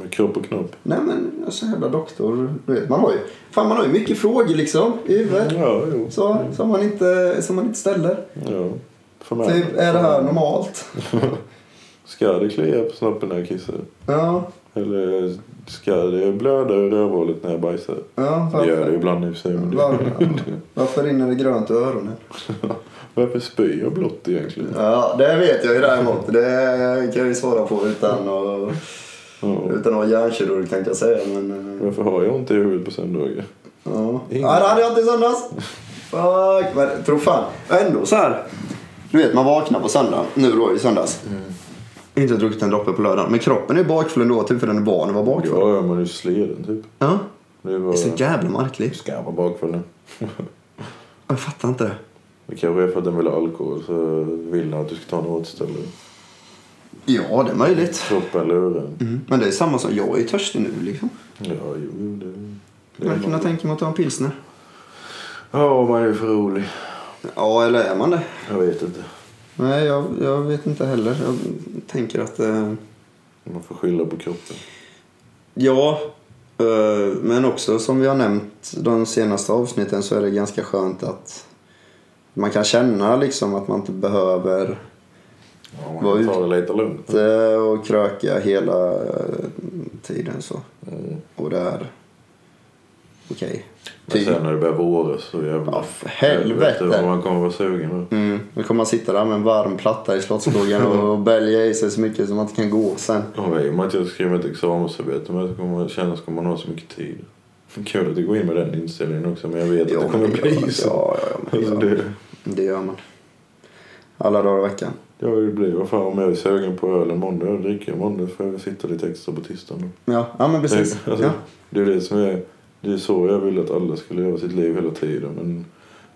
[SPEAKER 1] Med kropp och knopp.
[SPEAKER 2] Nej men, jag är så jävla doktor. Du vet, man har ju, fan, man har ju mycket frågor liksom i huvudet.
[SPEAKER 1] Ja, jo.
[SPEAKER 2] Så, som, man inte, som man inte ställer.
[SPEAKER 1] Ja. För mig.
[SPEAKER 2] Typ, är det här normalt?
[SPEAKER 1] Ska det klia på snoppen när jag kissar?
[SPEAKER 2] Ja,
[SPEAKER 1] Eller ska det blöda ur rövhålet när jag bajsar?
[SPEAKER 2] ja.
[SPEAKER 1] Det gör det
[SPEAKER 2] Varför,
[SPEAKER 1] ibland i och för sig. men det-
[SPEAKER 2] var, varför rinner det grönt i öronen?
[SPEAKER 1] Varför spyr jag blått egentligen?
[SPEAKER 2] Ja, det vet jag ju däremot. Det kan jag ju svara på utan att,
[SPEAKER 1] Ja.
[SPEAKER 2] utan att vara hjärnkirurg tänkte jag säga. Men, eh,
[SPEAKER 1] Varför har jag inte i huvudet på söndagar?
[SPEAKER 2] ja.
[SPEAKER 1] Ingen-
[SPEAKER 2] ja, det hade jag inte i söndags. Fuck, men tro fan. Ändå så här. Du vet, man vaknar på söndag. Nu då i söndags. Mm. Inte druckit en droppe på lördagen. Men kroppen är bakfull ändå, typ för den är van att vara bakfull.
[SPEAKER 1] Ja, ja, man är ju sleden typ.
[SPEAKER 2] Ja.
[SPEAKER 1] Det är
[SPEAKER 2] Det är så
[SPEAKER 1] bara...
[SPEAKER 2] jävla märkligt.
[SPEAKER 1] Ska vara bakfull nu.
[SPEAKER 2] Jag fattar inte det.
[SPEAKER 1] Det kanske är för att den vill ha alkohol så vill den att du ska ta en återställare.
[SPEAKER 2] Ja, det är möjligt.
[SPEAKER 1] Kroppen lurar en.
[SPEAKER 2] Mm. Men det är samma som, jag är ju törstig nu liksom.
[SPEAKER 1] Ja, jo, jo, det... det
[SPEAKER 2] Jag kunde
[SPEAKER 1] man.
[SPEAKER 2] tänka mig att ta en pilsner.
[SPEAKER 1] Ja, man är för rolig.
[SPEAKER 2] Ja, eller är man det?
[SPEAKER 1] Jag vet inte.
[SPEAKER 2] Nej, jag, jag vet inte heller. Jag tänker att... Eh,
[SPEAKER 1] Man får skylla på kroppen.
[SPEAKER 2] ja, eh, men också som vi har nämnt de senaste avsnitten så är det ganska skönt att man kan känna liksom att man inte behöver
[SPEAKER 1] Ja, man
[SPEAKER 2] Vad
[SPEAKER 1] kan
[SPEAKER 2] ut-
[SPEAKER 1] ta det lite lugnt.
[SPEAKER 2] eh, och kröka hela eh, tiden så.
[SPEAKER 1] Mm.
[SPEAKER 2] Och det är okej.
[SPEAKER 1] Men
[SPEAKER 2] Typ.
[SPEAKER 1] sen när det börjar våras så jävlar.
[SPEAKER 2] Ja, för helvete.
[SPEAKER 1] Helvete vad man kommer vara sugen då.
[SPEAKER 2] Mm. Nu kommer man sitta där med en varm platta i Slottsskogen
[SPEAKER 1] <laughs>
[SPEAKER 2] och bälja i sig så mycket som man inte kan gå sen.
[SPEAKER 1] Ja, I och med att jag skriver ett examensarbete men jag kommer känna att man har så mycket tid. Kul att du går in med den inställningen också men jag vet att det kommer
[SPEAKER 2] men
[SPEAKER 1] bli
[SPEAKER 2] ja,
[SPEAKER 1] så.
[SPEAKER 2] ja, ja, men
[SPEAKER 1] Alltså,
[SPEAKER 2] ja.
[SPEAKER 1] det,
[SPEAKER 2] Det gör man. Alla dagar i veckan.
[SPEAKER 1] ja, det blir vad fan om jag är sugen på öl en måndag, jag dricker en måndag får jag sitta lite extra på tisdagen.
[SPEAKER 2] Ja, ja men precis.
[SPEAKER 1] Det, <laughs> alltså,
[SPEAKER 2] Ja.
[SPEAKER 1] det är det som är, det är så jag vill att alla skulle leva sitt liv hela tiden men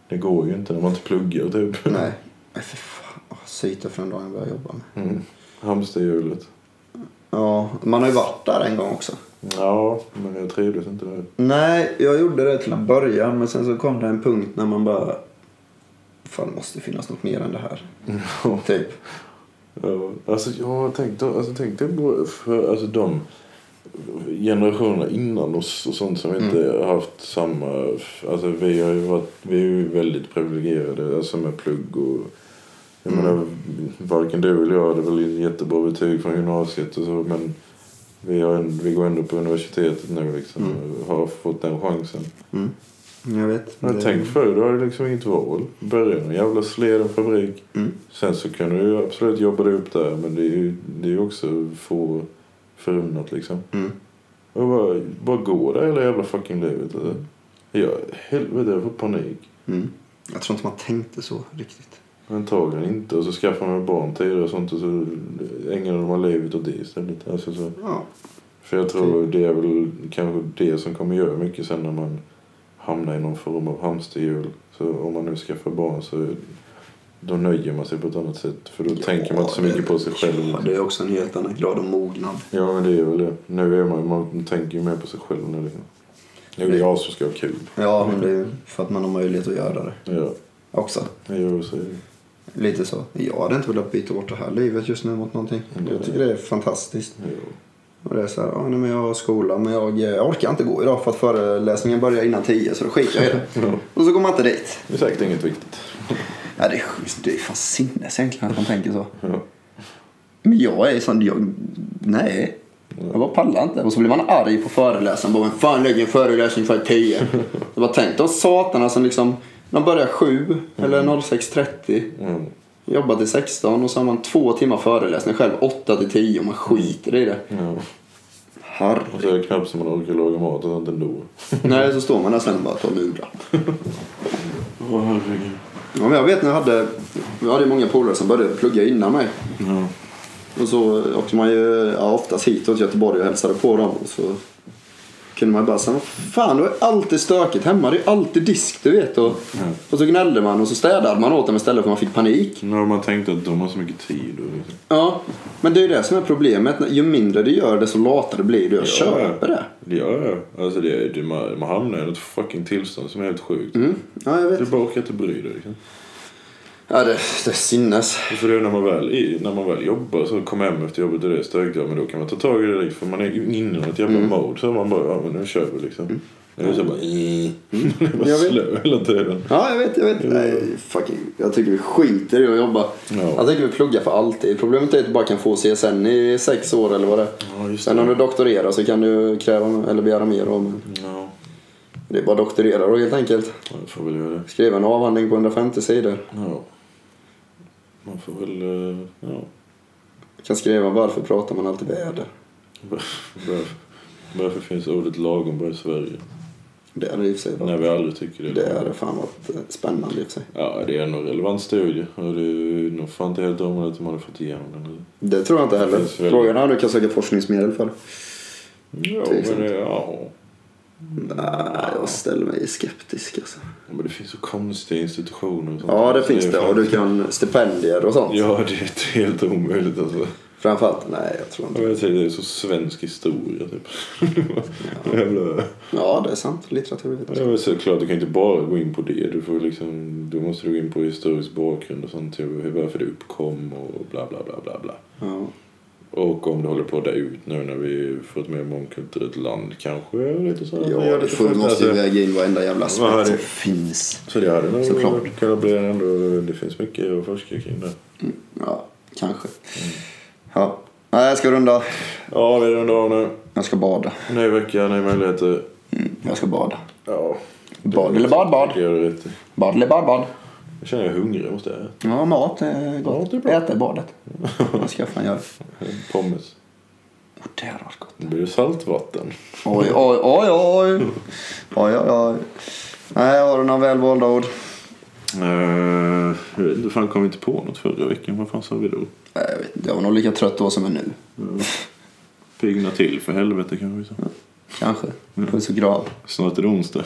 [SPEAKER 1] det går ju inte när man inte pluggar typ. <laughs>
[SPEAKER 2] Nej. Nej, fy fan. Åh, Syta för en dag jag började jobba med.
[SPEAKER 1] Mm. Hamsterhjulet.
[SPEAKER 2] Ja, man har ju varit där en gång också.
[SPEAKER 1] Ja, men jag trivdes inte där.
[SPEAKER 2] Nej, jag gjorde det till en början men sen så kom det en punkt när man bara... Fan, det måste finnas något mer än det här. Typ.
[SPEAKER 1] Ja, alltså jag tänkte, alltså tänkte på för, alltså de generationerna innan oss och sånt som inte har haft samma, alltså vi har ju varit, vi är ju väldigt privilegierade alltså med plugg och jag menar varken du eller jag hade väl jättebra betyg från gymnasiet och så men vi, har, en- vi går ändå på universitetet nu liksom och har fått den chansen.
[SPEAKER 2] Mm. Jag vet.
[SPEAKER 1] Men
[SPEAKER 2] Det-
[SPEAKER 1] tänk förr, du hade liksom inget val. Börja en jävla sleden fabrik.
[SPEAKER 2] Mm.
[SPEAKER 1] Sen så kan du ju absolut jobba dig upp där men det är ju det är ju också få förunnat liksom.
[SPEAKER 2] Mm.
[SPEAKER 1] Och bara, bara gå där hela jävla fucking livet. Alltså. Ja, helvete jag får panik.
[SPEAKER 2] Mm. Jag tror inte man tänkte så riktigt.
[SPEAKER 1] Antagligen inte. Och så skaffar man barn tidigare och sånt och så ägnar man livet åt det istället. Alltså, så.
[SPEAKER 2] Ja.
[SPEAKER 1] För jag tror det är väl kanske det som kommer göra mycket sen när man hamnar i någon form av hamsterhjul. Så om man nu skaffar barn så då nöjer man sig på ett annat sätt. För då tänker man inte så
[SPEAKER 2] det-
[SPEAKER 1] mycket på sig själv.
[SPEAKER 2] Ja, det är också en helt annan grad av mognad.
[SPEAKER 1] Ja, men det är väl det. Nu är man, man tänker ju mer på sig själv nu. Liksom. Nu är det jag som ska ha kul.
[SPEAKER 2] Ja, men det är ju för att man har möjlighet att göra det
[SPEAKER 1] Ja,
[SPEAKER 2] också.
[SPEAKER 1] jag gör så. är det.
[SPEAKER 2] Lite så. Jag hade inte velat byta bort det här livet just nu mot någonting.
[SPEAKER 1] Mm.
[SPEAKER 2] Jag tycker det är fantastiskt.
[SPEAKER 1] Ja.
[SPEAKER 2] Och det är så här, ja, nej, men jag har skola men jag, eh, jag orkar inte gå idag för att föreläsningen börjar innan tio så då skiter <laughs> jag i det. Och så går man inte dit.
[SPEAKER 1] Det är säkert inget viktigt.
[SPEAKER 2] Ja, det, är, sjukt. det är fan sinnes egentligen att man tänker så.
[SPEAKER 1] Ja.
[SPEAKER 2] Men jag är sån, jag, nej. Jag bara pallar inte. Och så blir man arg på föreläsaren. Bara, "Vem fan lägger en föreläsning för tio? <laughs> Jag bara, tänk de satarna som liksom, de börjar sju eller 06.30.
[SPEAKER 1] Mm.
[SPEAKER 2] Jobbar till 16 och så har man två timmar föreläsning själv, 8 till 10 och man skiter i det.
[SPEAKER 1] Ja.
[SPEAKER 2] Herre.
[SPEAKER 1] Och så är det knappt som man orkar laga mat och sånt ändå.
[SPEAKER 2] Nej, så står man där sen och bara tar nudlar.
[SPEAKER 1] Åh herregud.
[SPEAKER 2] Ja, men jag vet när jag hade, jag hade många polare som började plugga innan mig.
[SPEAKER 1] Ja.
[SPEAKER 2] Och så åkte man ju ja, oftast hit till Göteborg och hälsade på dem. Och så kunde man bara säga, "Vad fan det är alltid stökigt hemma. Det är alltid disk du vet. Och,
[SPEAKER 1] Ja.
[SPEAKER 2] och så gnällde man och så städade man åt dem istället för man fick panik.
[SPEAKER 1] Nu har man tänkt att de har så mycket tid. Och liksom.
[SPEAKER 2] Ja, men det är ju det som är problemet. Ju mindre du gör det så latare blir du. Jag
[SPEAKER 1] Ja.
[SPEAKER 2] köper det.
[SPEAKER 1] Ja, ja. Alltså det är, det, man, man hamnar i ett fucking tillstånd som är helt sjukt.
[SPEAKER 2] Mm. Ja, jag vet.
[SPEAKER 1] Du bara orkar inte bry dig. Liksom.
[SPEAKER 2] Ja, det, det är sinnes.
[SPEAKER 1] Och För det är när man väl, i- när man väl jobbar så kommer hem efter jobbet och det är stökigt. Ja, men då kan man ta tag i det direkt för man är ju inne i ett jävla
[SPEAKER 2] Mm.
[SPEAKER 1] mode. Så man bara, ja men nu kör vi liksom. Nu är så bara, eh. <laughs> Man är bara
[SPEAKER 2] Mm. Jag vet.
[SPEAKER 1] slö hela tiden.
[SPEAKER 2] Ja, jag vet, jag vet. Nej, fucking, jag tycker vi skiter i att jobba.
[SPEAKER 1] Mm. Ja.
[SPEAKER 2] Jag tycker vi pluggar för alltid. Problemet är att du bara kan få CSN i sex år eller vad det är.
[SPEAKER 1] Ja, just
[SPEAKER 2] Sen om du doktorerar så kan du kräva eller begära mer av men
[SPEAKER 1] Ja,
[SPEAKER 2] Det är bara doktorera då helt enkelt.
[SPEAKER 1] man får väl göra det.
[SPEAKER 2] Skriva en avhandling på 150 sidor.
[SPEAKER 1] Ja. Man får väl, eh, ja. <laughs>
[SPEAKER 2] Jag kan skriva varför pratar man alltid väder.
[SPEAKER 1] Varför, varför finns ordet lagom bara i Sverige?
[SPEAKER 2] Det hade i och för sig
[SPEAKER 1] När
[SPEAKER 2] varit.
[SPEAKER 1] vi aldrig tycker det.
[SPEAKER 2] Det hade fan varit eh, spännande i och för sig.
[SPEAKER 1] Ja, det är nog en relevant studie. Och det är ju nog fan inte helt omöjligt att man hade fått igenom den. eller?
[SPEAKER 2] Det tror jag inte
[SPEAKER 1] Det
[SPEAKER 2] heller.
[SPEAKER 1] finns väl-
[SPEAKER 2] Frågan är om du kan söka forskningsmedel för.
[SPEAKER 1] Jo,
[SPEAKER 2] Till
[SPEAKER 1] men
[SPEAKER 2] exempel.
[SPEAKER 1] det, ja.
[SPEAKER 2] Nej, jag ställer mig skeptisk alltså.
[SPEAKER 1] Ja, Men det finns så konstiga institutioner. och sånt.
[SPEAKER 2] Ja, det finns
[SPEAKER 1] är
[SPEAKER 2] det.
[SPEAKER 1] fan-
[SPEAKER 2] Och du kan stipendier och sånt.
[SPEAKER 1] Ja, det är inte helt omöjligt alltså.
[SPEAKER 2] Framförallt, nej jag tror
[SPEAKER 1] Ja,
[SPEAKER 2] inte.
[SPEAKER 1] men Jag säger, det är så svensk historia typ. <laughs> Jävla...
[SPEAKER 2] Ja, det är sant. Litteraturvetenskap.
[SPEAKER 1] Ja, men såklart, du kan inte bara gå in på det. Du får liksom, då måste du gå in på historisk bakgrund och sånt. Typ, hur- varför det uppkom och bla bla bla bla bla.
[SPEAKER 2] Ja.
[SPEAKER 1] Och om det håller på att dö ut nu när vi får ett mer mångkulturellt land kanske. Lite så här, man
[SPEAKER 2] Ja,
[SPEAKER 1] gör
[SPEAKER 2] det
[SPEAKER 1] lite
[SPEAKER 2] får,
[SPEAKER 1] sånt.
[SPEAKER 2] måste ju
[SPEAKER 1] Alltså,
[SPEAKER 2] väga in varenda jävla
[SPEAKER 1] Vad är
[SPEAKER 2] aspekt som
[SPEAKER 1] det?
[SPEAKER 2] finns.
[SPEAKER 1] Så det hade nog
[SPEAKER 2] Såklart.
[SPEAKER 1] kunnat bli ändå. Det finns mycket att forska kring där.
[SPEAKER 2] Ja, kanske.
[SPEAKER 1] Mm.
[SPEAKER 2] Ja. Nej, jag ska runda.
[SPEAKER 1] Ja, vi rundar av nu.
[SPEAKER 2] Jag ska bada.
[SPEAKER 1] Ny vecka, nya möjligheter.
[SPEAKER 2] Jag ska bada.
[SPEAKER 1] Ja.
[SPEAKER 2] Bad eller bad,
[SPEAKER 1] Det
[SPEAKER 2] bad.
[SPEAKER 1] gör du rätt i.
[SPEAKER 2] Bad eller bad, bad.
[SPEAKER 1] Jag känner jag är hungrig. Jag måste äta.
[SPEAKER 2] Ja, mat är gott.
[SPEAKER 1] Mat är bra.
[SPEAKER 2] Äta i badet. Vad ska jag fan göra?
[SPEAKER 1] Pommes.
[SPEAKER 2] Och det hade varit gott.
[SPEAKER 1] Nu blir det saltvatten.
[SPEAKER 2] Oj, oj, oj, oj. Oj, oj, oj. Nej, har du några välvalda ord?
[SPEAKER 1] Uh, jag vet inte, fan kom vi inte på något förra veckan. Vad fan sa vi då?
[SPEAKER 2] Nej, jag vet inte. Jag var nog lika trött då som jag är nu.
[SPEAKER 1] Pigna till för helvete kanske vi sa.
[SPEAKER 2] Kanske. Puss och kram.
[SPEAKER 1] Snart är det onsdag.